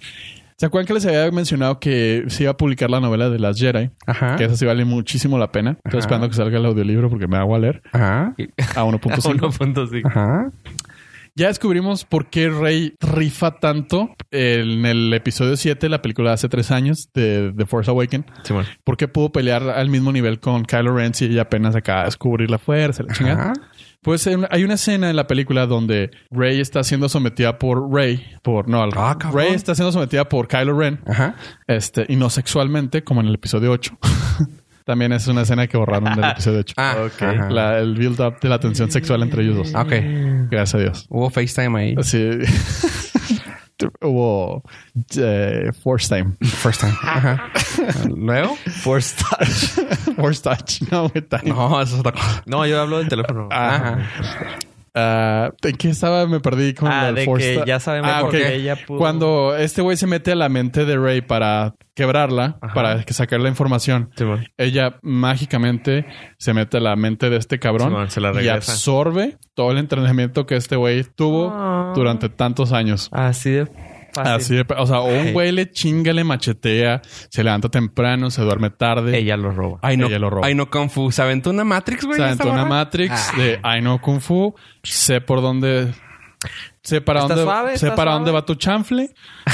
¿Se acuerdan que les había mencionado que se iba a publicar la novela de las Jedi?
Ajá.
Que esa sí vale muchísimo la pena. Estoy esperando que salga el audiolibro porque me hago a leer
Ajá.
a 1.5.
punto sí.
Ajá.
Ya descubrimos por qué Rey rifa tanto en el episodio 7, la película de hace tres años de The Force Awakens.
Simón.
¿Por qué pudo pelear al mismo nivel con Kylo Ren si ella apenas acaba de descubrir la fuerza? La chingada?
Ajá.
Pues en- hay una escena en la película donde Rey está siendo sometida por Rey, por no, al-
Ah, cabrón.
Rey está siendo sometida por Kylo Ren,
Ajá.
este, y no sexualmente, como en el episodio 8. También es una escena que borraron del episodio 8.
Ah, ok. Ajá.
La- el build up de la tensión sexual entre ellos dos.
Ah, Ok.
Gracias a Dios.
Hubo FaceTime ahí.
Así hubo eh, force time.
First time. Ajá. Luego.
Force touch.
Force touch. No, güey, time.
No, eso es otra cosa.
No, yo hablo del teléfono.
Ajá.
Ah, ¿En qué estaba? Me perdí con
Ah,
la
de
Force
que
Touch. Ah,
ya sabemos por
ok.
qué ella pudo-
Cuando este güey se mete a la mente de Rey para quebrarla, para que sacar la información,
Simón.
ella mágicamente se mete a la mente de este cabrón
Simón, se la
y
regresa.
absorbe todo el entrenamiento que este güey tuvo
Ah.
durante tantos años.
Así de fácil.
Así de, o sea, o un güey le chinga, le machetea, se levanta temprano, se duerme tarde.
Ella lo roba.
Ay, no.
Ella lo robó.
Ay, no, Kung Fu. ¿Se aventó una Matrix, güey?
Se
esta
aventó una
morra?
Matrix
Ah.
de I know Kung Fu. Sé por dónde. Sé para
Está
dónde.
suave,
sé
está
para
suave.
dónde va tu chanfle.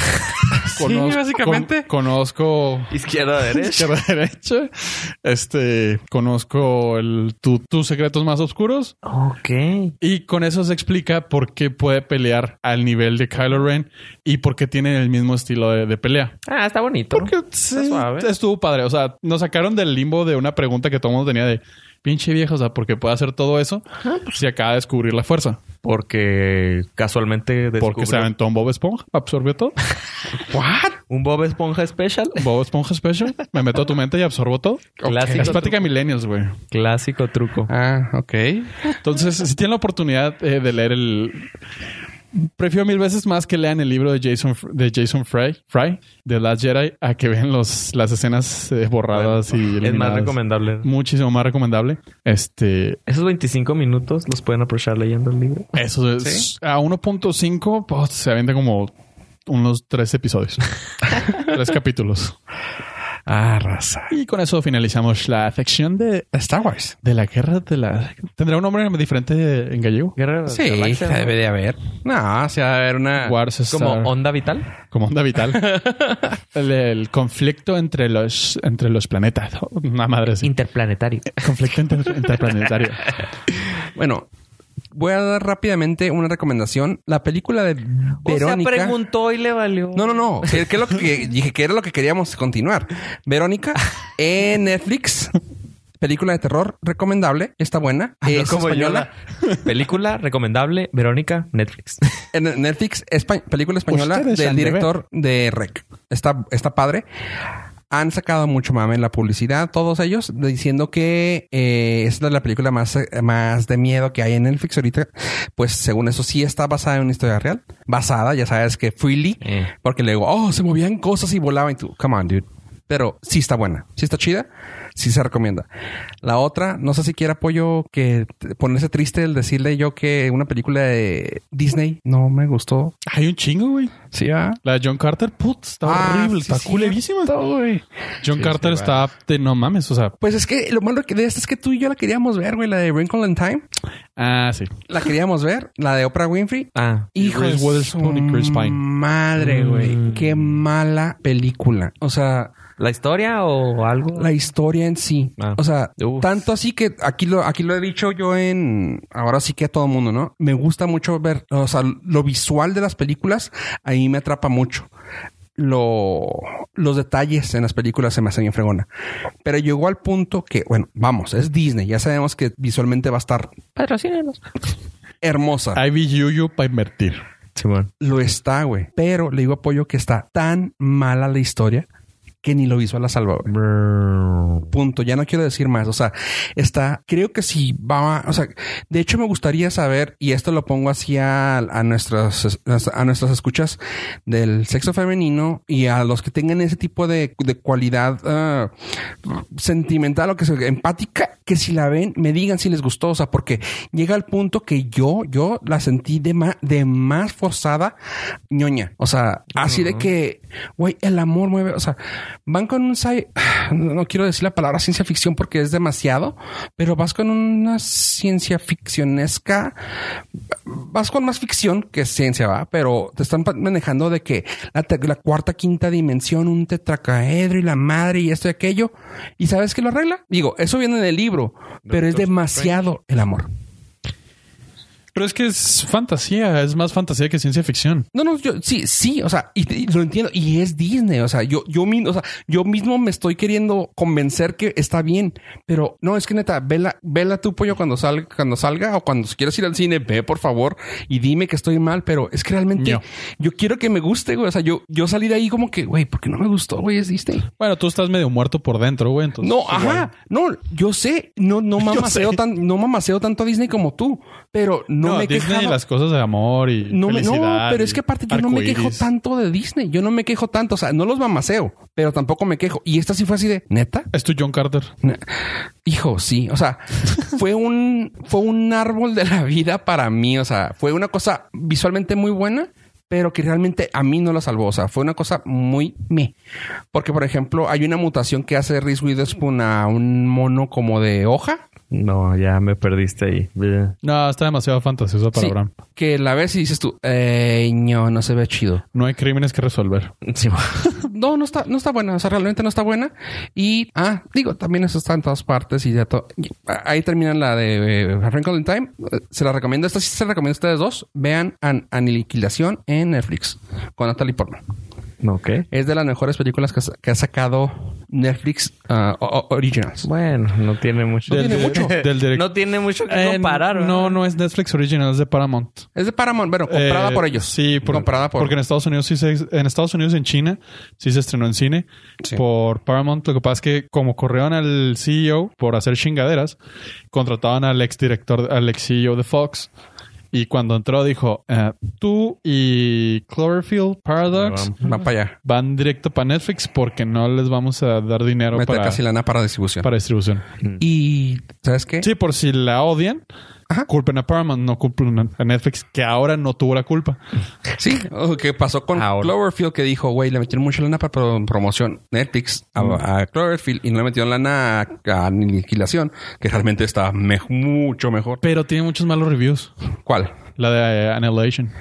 básicamente.
con- conozco.
Izquierda, derecha.
Izquierda, derecha. Este. Conozco el, tu- tus secretos más oscuros.
ok.
Y con eso se explica por qué puede pelear al nivel de Kylo Ren y por qué tiene el mismo estilo de- de pelea.
Ah, está bonito.
Porque sí,
suave.
estuvo padre. O sea, nos sacaron del limbo de una pregunta que todo el mundo tenía de pinche viejo. O sea, porque puede hacer todo eso
pues
si acaba de descubrir la fuerza.
Porque casualmente
Porque se
descubrió
aventó un Bob Esponja, absorbió todo.
un Bob Esponja Special.
Bob Esponja Special, me meto a tu mente y absorbo todo.
Clásico
Es plática millennials, güey.
Clásico truco.
Ah, ok.
Entonces, si tienen la oportunidad eh, de leer el... Prefiero mil veces más que lean el libro de Jason de Jason Fry, Fry de Last Jedi a que vean los, las escenas eh, borradas y
es más
eliminadas.
recomendable.
Muchísimo más recomendable. Este,
Esos 25 minutos los pueden aprovechar leyendo el libro.
Eso es. A 1.5 pues, se avienta como unos tres episodios. tres capítulos.
Ah, raza.
Y con eso finalizamos la sección de,
Star Wars.
de la guerra de la... ¿Tendrá un nombre diferente en gallego?
Guerra de las
Sí,
Galaxias,
la
¿no?
debe de haber. Pues No, se va a haber una.
Ah, Wars
Como
Star-
onda vital.
como onda vital. el, el conflicto entre los, entre los planetas. Una madre así.
Interplanetario.
conflicto inter- interplanetario.
Bueno, voy a dar rápidamente una recomendación. La película de Verónica.
O sea, preguntó y le valió.
no, no, no. ¿Qué, qué es lo que dije? que era lo que queríamos continuar? Verónica en Netflix. Película de terror recomendable. Está buena.
Ah,
No
Es
como yo,
española.
la- Película recomendable, Verónica, Netflix.
En Netflix, espa- película española
Ustedes
del
han de
director de Rec. Está, está padre. Han sacado mucho mame en la publicidad, todos ellos, diciendo que eh, es de la película más, eh, más de miedo que hay en Netflix ahorita. Pues según eso, sí está basada en una historia real. Basada, ya sabes que freely.
Eh.
Porque luego, oh, se movían cosas y volaban. Y tú, come on, dude. Pero sí está buena, sí está chida, sí se recomienda. La otra, no sé si quiere apoyo que te- ponerse triste el decirle yo que una película de Disney no me gustó.
Hay un chingo, güey.
Sí, ah.
La de John Carter, put, está
Ah,
horrible.
sí,
está
sí,
culerísima. John Carter está de no mames. O sea,
Pues es que lo malo que de esta es que tú y yo la queríamos ver, güey, la de Wrinkle in Time.
ah, sí.
La queríamos ver, la de Oprah Winfrey.
Ah,
Hijo de
Reese Witherspoon y Chris
su
Pine.
Madre, güey.
Mm.
Qué mala película. O sea,
¿la historia o algo?
la historia en sí.
Ah.
O sea,
Uf.
tanto así que aquí lo, aquí lo he dicho yo en ahora sí que a todo el mundo, ¿no? Me gusta mucho ver, o sea, lo visual de las películas ahí me atrapa mucho. Lo, los detalles en las películas se me hacen bien fregona. Pero llegó al punto que, bueno, vamos, es Disney. Ya sabemos que visualmente va a estar
Patrocínanos.
hermosa.
IBU para invertir.
Simón.
Lo está, güey. Pero le digo apoyo que está tan mala la historia que ni lo visual la salva, güey. punto. Ya no quiero decir más. O sea, está, creo que sí va, o sea, de hecho me gustaría saber, y esto lo pongo así a, a nuestras, a nuestras escuchas del sexo femenino y a los que tengan ese tipo de, de cualidad ah, sentimental o que sea empática, que si la ven, me digan si les gustó. O sea, porque llega al punto que yo, yo la sentí de más, de más forzada ñoña. O sea, así de que, güey, el amor mueve, o sea, van con un sci- no quiero decir la palabra ciencia ficción porque es demasiado, pero vas con una ciencia ficcionesca, vas con más ficción que ciencia, va, pero te están pa- manejando de que la, te- la cuarta, quinta dimensión, un tetracaedro y la madre y esto y aquello, y sabes que lo arregla. Digo, eso viene en el libro, pero es demasiado el amor.
Pero es que es fantasía, es más fantasía que ciencia ficción.
No, no, yo sí, sí, o sea, y, y lo entiendo. Y es Disney, o sea, yo, yo, mi- o sea, yo mismo me estoy queriendo convencer que está bien, pero no, es que neta, vela, vela tu pollo cuando salga, cuando salga o cuando si quieras ir al cine, ve por favor y dime que estoy mal, pero es que realmente
No.
yo quiero que me guste, güey. O sea, yo, yo salí de ahí como que, güey, porque no me gustó, güey, es Disney.
Bueno, tú estás medio muerto por dentro, güey. Entonces,
No,
Pues igual.
ajá, no, yo sé, no, no mamaseo
sé.
tan, no mamaseo tanto a Disney como tú, pero no,
No,
me he
Disney
quejado.
y las cosas de amor y
No, me- no,
felicidad
pero
y
es que aparte yo no me quejo
arcoíris.
tanto de Disney. Yo no me quejo tanto. O sea, no los mamaceo, pero tampoco me quejo. Y esta sí fue así de neta.
Es tu John Carter.
Ne- Hijo, sí. O sea, fue un, fue un árbol de la vida para mí. O sea, fue una cosa visualmente muy buena, pero que realmente a mí no la salvó. O sea, fue una cosa muy me. Porque, por ejemplo, hay una mutación que hace Reese Witherspoon a un mono como de hoja.
No, ya me perdiste ahí. Bleh.
No, está demasiado fantasiosa para
Sí,
Abraham.
que la ves y dices tú, eh, no, no se ve chido.
No hay crímenes que resolver.
Sí, mo-
No, no está, no está buena. O sea, realmente no está buena. Y, ah, digo, también eso está en todas partes y ya to- y- Ahí termina la de eh, A Wrinkle in Time. Eh, Se la recomiendo. Esta sí se la recomiendo a ustedes dos. Vean An- Aniquilación en Netflix con Natalie Portman.
No, ¿qué?
Es de las mejores películas que, ha sa- que ha sacado Netflix ah, o- o- Originals.
Bueno, no tiene mucho.
Del-
tiene mucho.
Del direct-
No tiene mucho que
Eh,
comparar. ¿verdad?
no, no es Netflix original, es de Paramount.
Es de Paramount, bueno, comprada
Eh,
por ellos.
Sí, por-
comprada por
porque en Estados Unidos sí se, en Estados Unidos y en China sí se estrenó en cine
Sí.
por Paramount. Lo que pasa es que como corrieron al CEO por hacer chingaderas, contrataban al ex director, al ex CEO de Fox. Y cuando entró dijo, eh, tú y Cloverfield Paradox
Va para allá.
van directo para Netflix porque no les vamos a dar dinero
Mete
para,
casi lana para distribución.
para distribución.
Y, ¿sabes qué?
Sí, por si la odian,
Ajá.
culpen a Paramount, no culpen a Netflix, que ahora no tuvo la culpa.
Sí, o que Oh, pasó con
Ahora.
Cloverfield que dijo, güey, le metieron mucha lana para pro- promoción Netflix
Mm.
a, a Cloverfield y no le metieron lana a, a Aniquilación, que realmente está me- mucho mejor.
Pero tiene muchos malos reviews.
¿Cuál?
La de eh, Annihilation.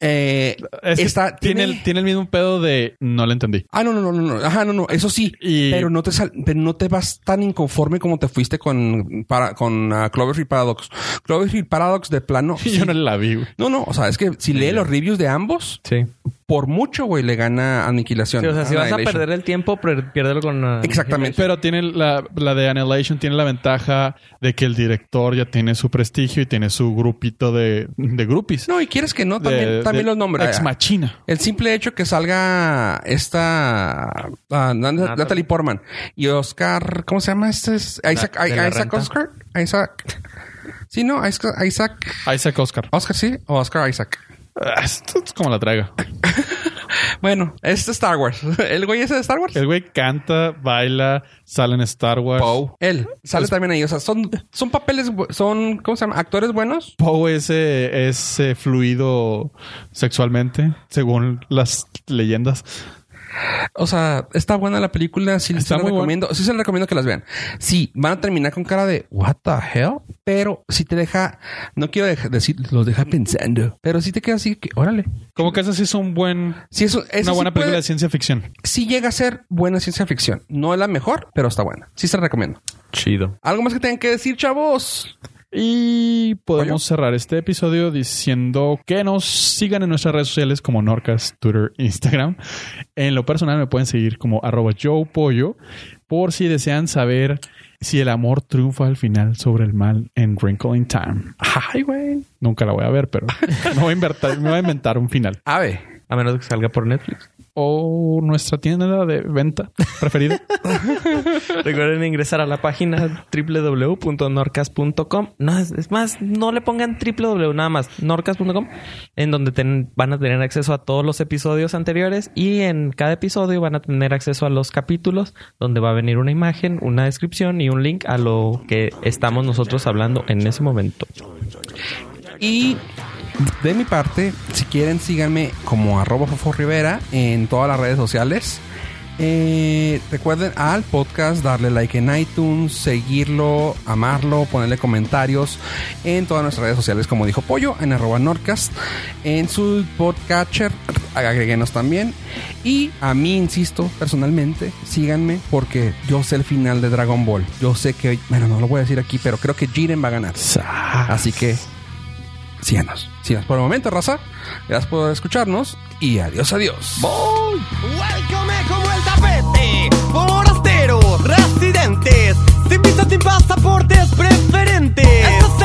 Eh,
Es que
esta
tiene, el, tiene el mismo pedo de no la entendí.
Ah, no, no, no, no, no. Ajá, no, no. Eso sí.
Y-
Pero no te sal- pero no te vas tan inconforme como te fuiste con, para, con ah, Cloverfield Paradox. Cloverfield Paradox de plano.
Y
sí.
Yo no la vi. güey.
No, no. O sea, es que si lee los reviews de ambos,
Sí.
por mucho, güey, le gana Aniquilación. Ah,
Sí, o sea, si vas a
Annihilation.
perder el tiempo, pre- piérdelo con... ah,
Exactamente.
Pero tiene la, la de Annihilation tiene la ventaja de que el director ya tiene su prestigio y tiene su grupito de, de groupies.
No, y quieres que no,
De-
también, también
de
los nombra.
Ex Machina.
El simple hecho que salga esta ah, Nan- Natalie. Portman y Oscar, ¿cómo se llama este? Es Isaac,
de la
Isaac
renta.
Oscar, Isaac. Sí, no, Isaac, Isaac,
Isaac Oscar.
Oscar, sí, o Oscar Isaac.
Ah, Esto es como la traiga.
Bueno, este es de Star Wars. El güey ese de Star Wars.
El güey canta, baila, sale en Star Wars.
Poe. Él sale también ahí. O sea, son, son papeles, bu- son, ¿cómo se llama? Actores buenos.
Poe es, eh, es, eh, fluido sexualmente, según las leyendas.
O sea, está buena la película. Sí,
Está
se la
muy buena.
recomiendo. Sí, se la recomiendo que las vean. Sí, van a terminar con cara de what the hell. Pero si te deja, no quiero deja- decir, los deja pensando, pero sí te queda así que, órale.
Como que esa sí es un buen,
Sí, eso, eso
una
sí
buena película
puede-
de ciencia ficción.
sí llega a ser buena ciencia ficción. No es la mejor, pero está buena. Sí, se la recomiendo.
Chido.
Algo más que tengan que decir, chavos.
Y podemos cerrar este episodio diciendo que nos sigan en nuestras redes sociales como Norcas, Twitter, Instagram. En lo personal me pueden seguir como arroba Joe Pollo por si desean saber si el amor triunfa al final sobre el mal en Wrinkle in Time.
Ay, güey.
Nunca la voy a ver, pero me voy a inventar, me voy a inventar un final.
Ave.
A menos que salga por Netflix.
O nuestra tienda de venta preferida.
Recuerden ingresar a la página www.norcas.com. No, es, es más, no le pongan www nada más, norcas.com, en donde ten- van a tener acceso a todos los episodios anteriores y en cada episodio van a tener acceso a los capítulos, donde va a venir una imagen, una descripción y un link a lo que estamos nosotros hablando en ese momento.
Y de mi parte, si quieren, síganme como arroba Fofo Rivera en todas las redes sociales. Eh, recuerden al podcast darle like en iTunes, seguirlo, amarlo, ponerle comentarios en todas nuestras redes sociales, como dijo Pollo, en arroba Norcast, en su podcatcher, agréguenos también. Y a mí, insisto, personalmente, síganme porque yo sé el final de Dragon Ball. Yo sé que, bueno, no lo voy a decir aquí, pero creo que Jiren va a ganar.
Ah.
Así que síganos. Síganos por el momento, raza. Gracias por escucharnos y adiós, adiós.
Welcome como el tapete, forastero, residentes, sin visa, sin pasaportes preferentes. Estas